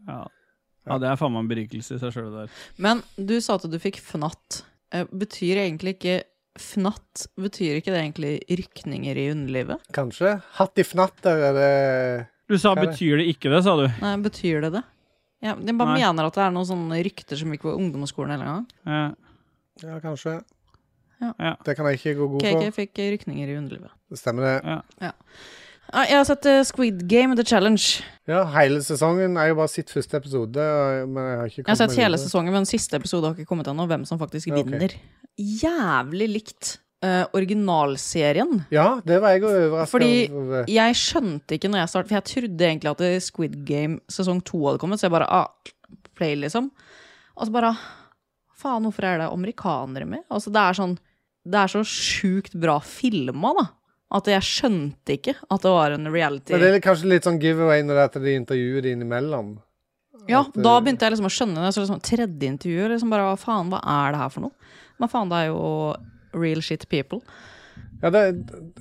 Ja. ja, det er faen meg en berikelse i seg sjøl, det der. Men du sa at du fikk fnatt. Eh, Betyr egentlig ikke Fnatt, betyr ikke det egentlig rykninger i underlivet? Kanskje. Hatt i fnatter er det Du sa Hva er det? 'betyr det ikke det', sa du. Nei, betyr det det? Ja, jeg bare Nei. mener at det er noen sånne rykter som gikk på ungdomsskolen hele gang. Ja. Ja, kanskje. Ja. Ja. Det kan jeg ikke gå god KK for. fikk rykninger i underlivet. Stemmer det. Ja. Ah, Jeg har sett eh, Squid Game The Challenge. Ja, hele sesongen er jo bare sitt første episode, og- men jeg har ikke Jeg har kommet sett meg hele videre. sesongen, men siste episode har ikke kommet ennå. Hvem som faktisk Ja, ok. vinner. Jævlig likt eh, originalserien. Ja, det var jeg òg overraska Fordi over. Jeg skjønte ikke når jeg startet, for jeg trodde egentlig at eh, Squid Game sesong to hadde kommet, så jeg bare ah, play, liksom. Og så bare Faen, hvorfor er det amerikanere med? Altså, det er sånn Det er så sjukt bra filma, da. At jeg skjønte ikke at det var en reality. Men det er kanskje litt sånn giveaway når det er at de intervjuer de innimellom. Ja, At, da eh, begynte jeg liksom å skjønne det. Så liksom tredje intervju liksom bare, hva faen, hva er det her for noe? Men faen, det er jo real shit people. Ja, det,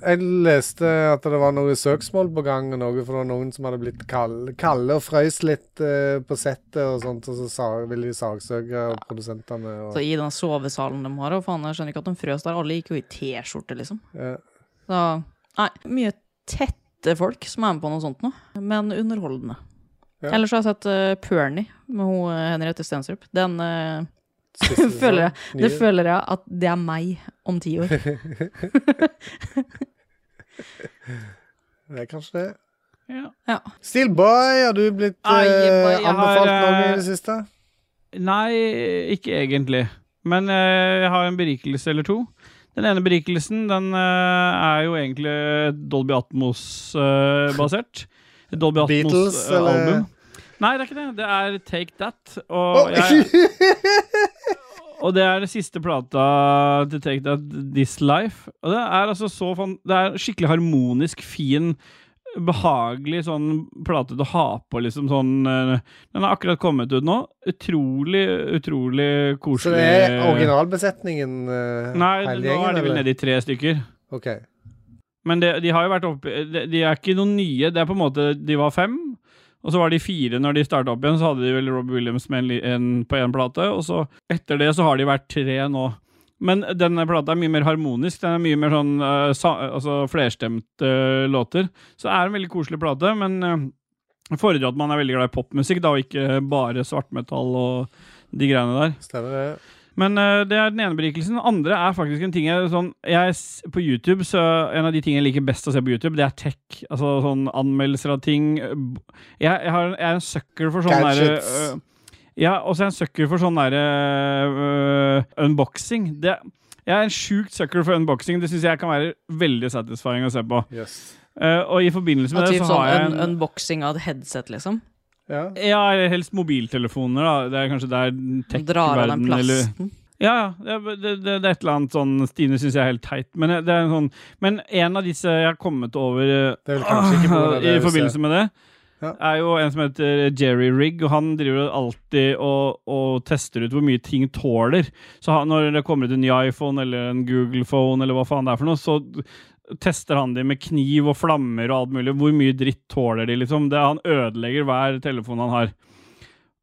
jeg leste at det var noe søksmål på gang, og noe for det var noen som hadde blitt kalde, kalde og frøys litt eh, på settet og sånt, og så sa, ville de saksøke produsentene og Så I den sovesalen de har, og faen, jeg skjønner ikke at de frøs der. Alle gikk jo i T-skjorte, liksom. ja. Så, nei, mye tette folk som er med på noe sånt nå, men underholdende. Ja. Ellers har jeg sett eh, Perny med hun eh, Henriette Stensrup. Den eh, Siste føler jeg, sesong, det nye. føler jeg at det er meg om ti år. Det er kanskje det. Ja. Ja. Steel Boy, har du blitt Ai, eh, jeg bare- jeg har, anbefalt noe i eh, det siste? Nei, ikke egentlig. Men eh, jeg har en berikelse eller to. Den ene berikelsen den eh, er jo egentlig Dolby Atmos-basert. Dolby Beatles, eller? Atmos-album. Nei, det er ikke det. Det er Take That. Og, jeg, og det er den siste plata til Take That, This Life. Og det er altså så fan, Det er skikkelig harmonisk, fin behagelig sånn plate til å ha på, liksom sånn eh, Den har akkurat kommet ut nå. Utrolig, utrolig Så koselig. det er originalbesetningen eh, Nei, hele nå er de vel eller? nede i tre stykker. Ok. Men det, de har jo vært oppe de, de er ikke noen nye. Det er på en måte De var fem, og så var de fire når de starta opp igjen. Så hadde de vel Rob Williams med en, li- en, på én plate, og så etter det så har de vært tre nå. Men denne plata er mye mer harmonisk. Den er mye mer sånn eh, sa, altså flerstemte eh, låter. Så det er en veldig koselig plate, men eh, jeg foredrar at man er veldig glad i popmusikk, da, og ikke bare svartmetall og de greiene der. Stemmer det. Men eh, det er den ene berikelsen. Den andre er faktisk en ting jeg sånn jeg, s- På YouTube, så En av de tingene jeg liker best å se på YouTube, det er tech. Altså sånn anmeldelser av ting. eh, b- Jeg, jeg, har, jeg er en sucker for sånn derre Gadgets. Ja, og så er jeg en sucker for sånn derre øh, unboxing. Det, jeg er en sjukt sucker for unboxing. Det syns jeg kan være veldig satisfying å se på. Eh, og i forbindelse med Og det typ så sånn har jeg un unboxing av et headset, liksom. Ja. ja, helst mobiltelefoner, da. Det er kanskje der Drar av den tech-verden eller plasten. ja, ja. Det, det, det det er et eller annet sånn Stine syns jeg er helt teit. Men det er en sånn Men en av disse jeg har kommet over øh, Det er vel kanskje ikke på grunn av det i huset. forbindelse med det, Ja. er jo en som heter øh, Jerry Rigg. Og han driver jo alltid og, og tester ut hvor mye ting tåler. Så han, når det kommer ut en ny iPhone eller en Google Phone eller hva faen det er for noe, så tester han de med kniv og flammer og alt mulig. Hvor mye dritt tåler de, liksom? Det, han ødelegger hver telefon han har.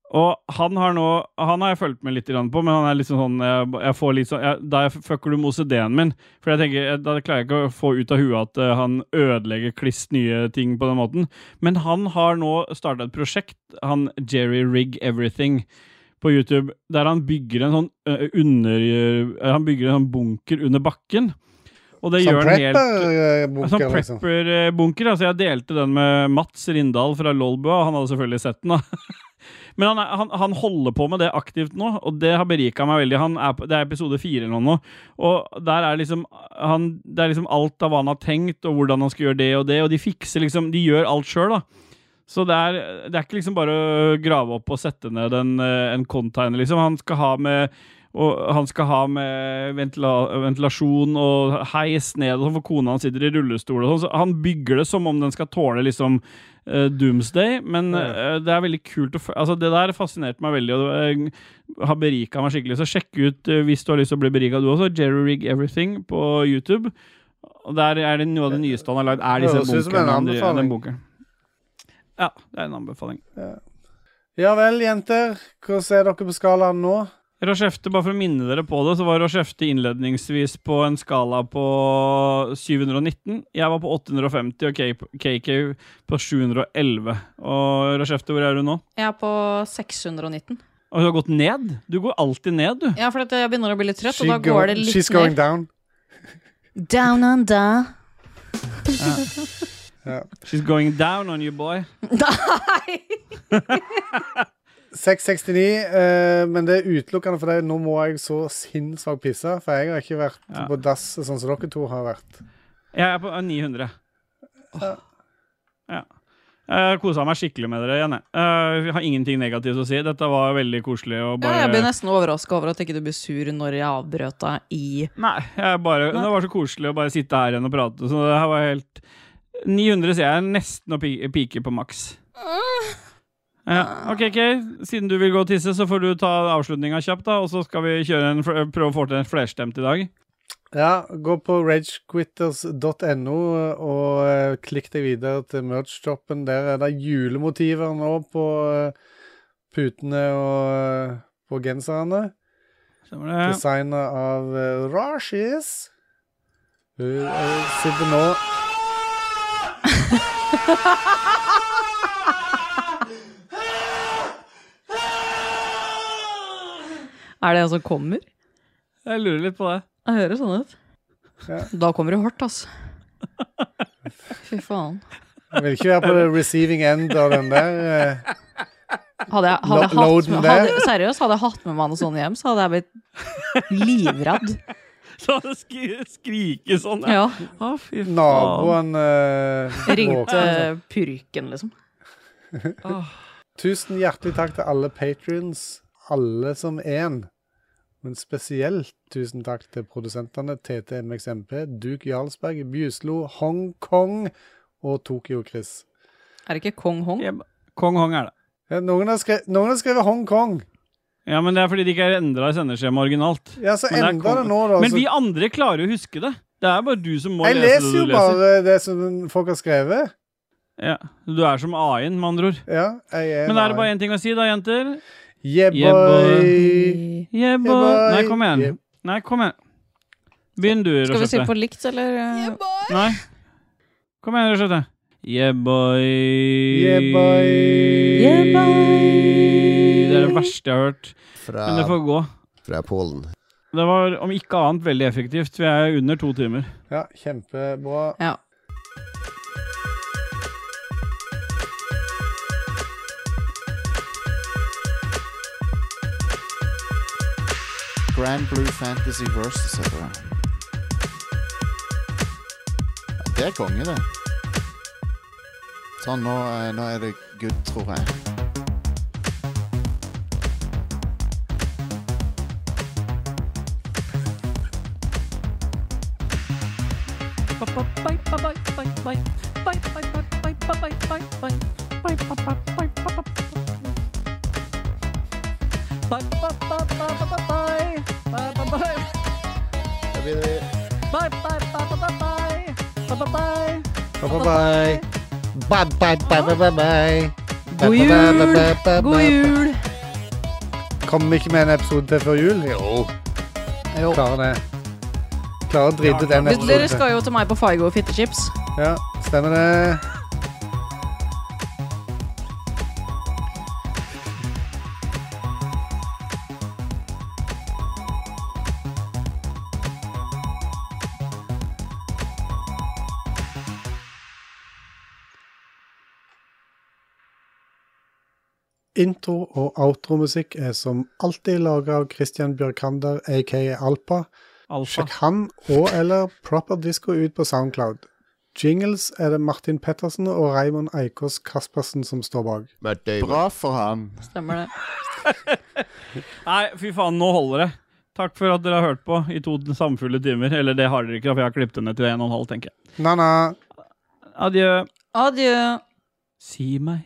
Og han har nå Han har jeg fulgt med litt grann på, men han er liksom sånn Jeg, jeg får litt sånn jeg, Da jeg fucker du med OCD-en min. For jeg tenker jeg, Da klarer jeg ikke å få ut av huet at eh, han ødelegger kliss nye ting på den måten. Men han har nå starta et prosjekt, han Jerry Rig Everything, på YouTube, der han bygger en sånn eh, under eh, Han bygger en sånn bunker under bakken. Og det Som gjør han helt prepper-bunker, Sånn liksom. prepper-bunker. Altså, jeg delte den med Mats Rindal fra Lolbua, og han hadde selvfølgelig sett den. da. Men han, er- han, han holder på med det aktivt nå, og det har berika meg veldig. Han er, på- det er episode fire eller noe nå, og der er liksom, han, det er liksom alt av hva han har tenkt, og hvordan han skal gjøre det og det, og de fikser liksom De gjør alt sjøl, da. Så det er, det er ikke liksom bare å grave opp og sette ned en, eh, en container, liksom. Han skal ha med og han skal ha med ventila ventilasjon og heis ned, og sånn, for kona hans sitter i rullestol. Og sånn, så han bygger det som om den skal tåle liksom eh, doomsday, men eh, det er veldig kult å fø- Altså, det der fascinerte meg veldig, og det, eh, har berika meg skikkelig. Så sjekk ut, eh, hvis du har lyst til å bli berika du også, Jerry Rig Everything på YouTube. Og der er det noe av det nyeste han har lagd, er disse Høres ut som en bunkerne. han driver- anbefaling. Den bunkeren. Ja, det er en anbefaling. Ja vel, jenter. Hvordan er dere på skalaen nå? Rochefte, bare for å minne dere på det, så var Rochefte innledningsvis på en skala på 719. Jeg var på 850, og K- KK på 711. Og Rochefte, hvor er du nå? Jeg er på 619. Og du har gått ned? Du går alltid ned, du. Ja, for at jeg begynner å bli litt trøtt, She og da go- går det she's litt going ned. down. Down under. She's going down on you, boy. Nei! 669, eh, men det er utelukkende fordi nå må jeg så sinnssvakt pisse. For jeg har ikke vært Ja. på dass sånn som dere to har vært. Jeg er på 900. Ja. Jeg kosa meg skikkelig med dere igjen. jeg. Eh, Jeg har ingenting negativt å si. Dette var veldig koselig. Og Ja, bare... jeg blir nesten overraska over at ikke du blir sur når jeg avbrøt deg i Nei, jeg bare, det var så koselig å bare sitte her igjen og prate. Så det her var helt 900 ser jeg er nesten å pi- pike på maks. Ah. Ja, ok, ok. Siden du vil gå og tisse, så får du ta avslutninga kjapt, da. Og så skal vi kjøre en, fl- prøve å få til en flerstemt i dag. Ja, gå på ragequitters.no og eh, klikk deg videre til merch-shoppen. Der er det julemotiver nå på eh, putene og eh, på genserne. Stemmer det? Designa av uh, Rashis. Hun eh, sitter nå Er det jeg som kommer? Jeg lurer litt på det. Jeg hører sånn ut. Ja. Da kommer det hardt, altså. Fy faen. Jeg vil ikke være på the receiving end av den der. eh. Hadde jeg, hadde jeg Lo- hatt, loaden med- der? hadde, seriøst, hadde jeg hatt med meg noe sånt hjem, så hadde jeg blitt livredd. Så det skri, skrike sånn. Ja. Å, fy faen. Naboen eh, Ringte våkner. purken, liksom. Tusen hjertelig takk til alle patrions, alle som én. Men spesielt tusen takk til produsentene TT MXMP, Duke Jarlsberg, Bjuslo, Hongkong og Tokyo-Chris. Er det ikke Kong Hong? Kong Hong er det. Noen har skrevet, noen har skrevet Hongkong. Ja, men det er fordi de ikke har endra sendeskjema originalt. Ja, så men, det er endra det Kong- nå, da, men så- vi andre klarer jo å huske det. Det er bare du som må altså- Jeg lese leser det jo du leser. bare det som folk har skrevet. Ja, du er som AI-en, med andre ord. Ja, jeg er Men er det bare én ting å si, da, jenter? Yeah, Yeah, boy. Yeah, boy. boy. Nei, kom igjen. Yeah. Nei, kom igjen. Begynn du, Skal vi si Rosette. på likt, eller? eh, Nei. Kom igjen, Rosette. Yeah, boy. Yeah, boy. Yeah, boy. Det er det verste jeg har hørt. Fra, Men det får gå. fra Polen. Det var om ikke annet veldig effektivt. Vi er under to timer. Ja, kjempebra. Ja. Grand Blue Fantasy Versus heter det. Ja, det er konge, det. Sånn, nå, eh, nå er det good, tror jeg. Da begynner vi. Bye, bye. Bye, bye, bye, bye, bye, bye. God jul! God jul! Kommer vi ikke med en episode til før jul? Jo. Jo. Klarer det. Klarer å drite ut en Vet Dere episode. skal jo til meg på Figo og fittechips. Ja, stemmer det. Intro- og outromusikk er som alltid laga av Christian Bjørkander, aka Alpa. Alfa. Sjekk han og eller Proper Disco ut på Soundcloud. Jingles er det Martin Pettersen og Raymond Eikås Kaspersen som står bak. Matt Damon. Bra for han. Stemmer det. Nei, fy faen, nå holder det. Takk for at dere har hørt på i to samfulle timer. Eller det har dere ikke, for jeg har klippet det ned til en og en halv, tenker jeg. Na-na. Adjø. Adjø. Si meg,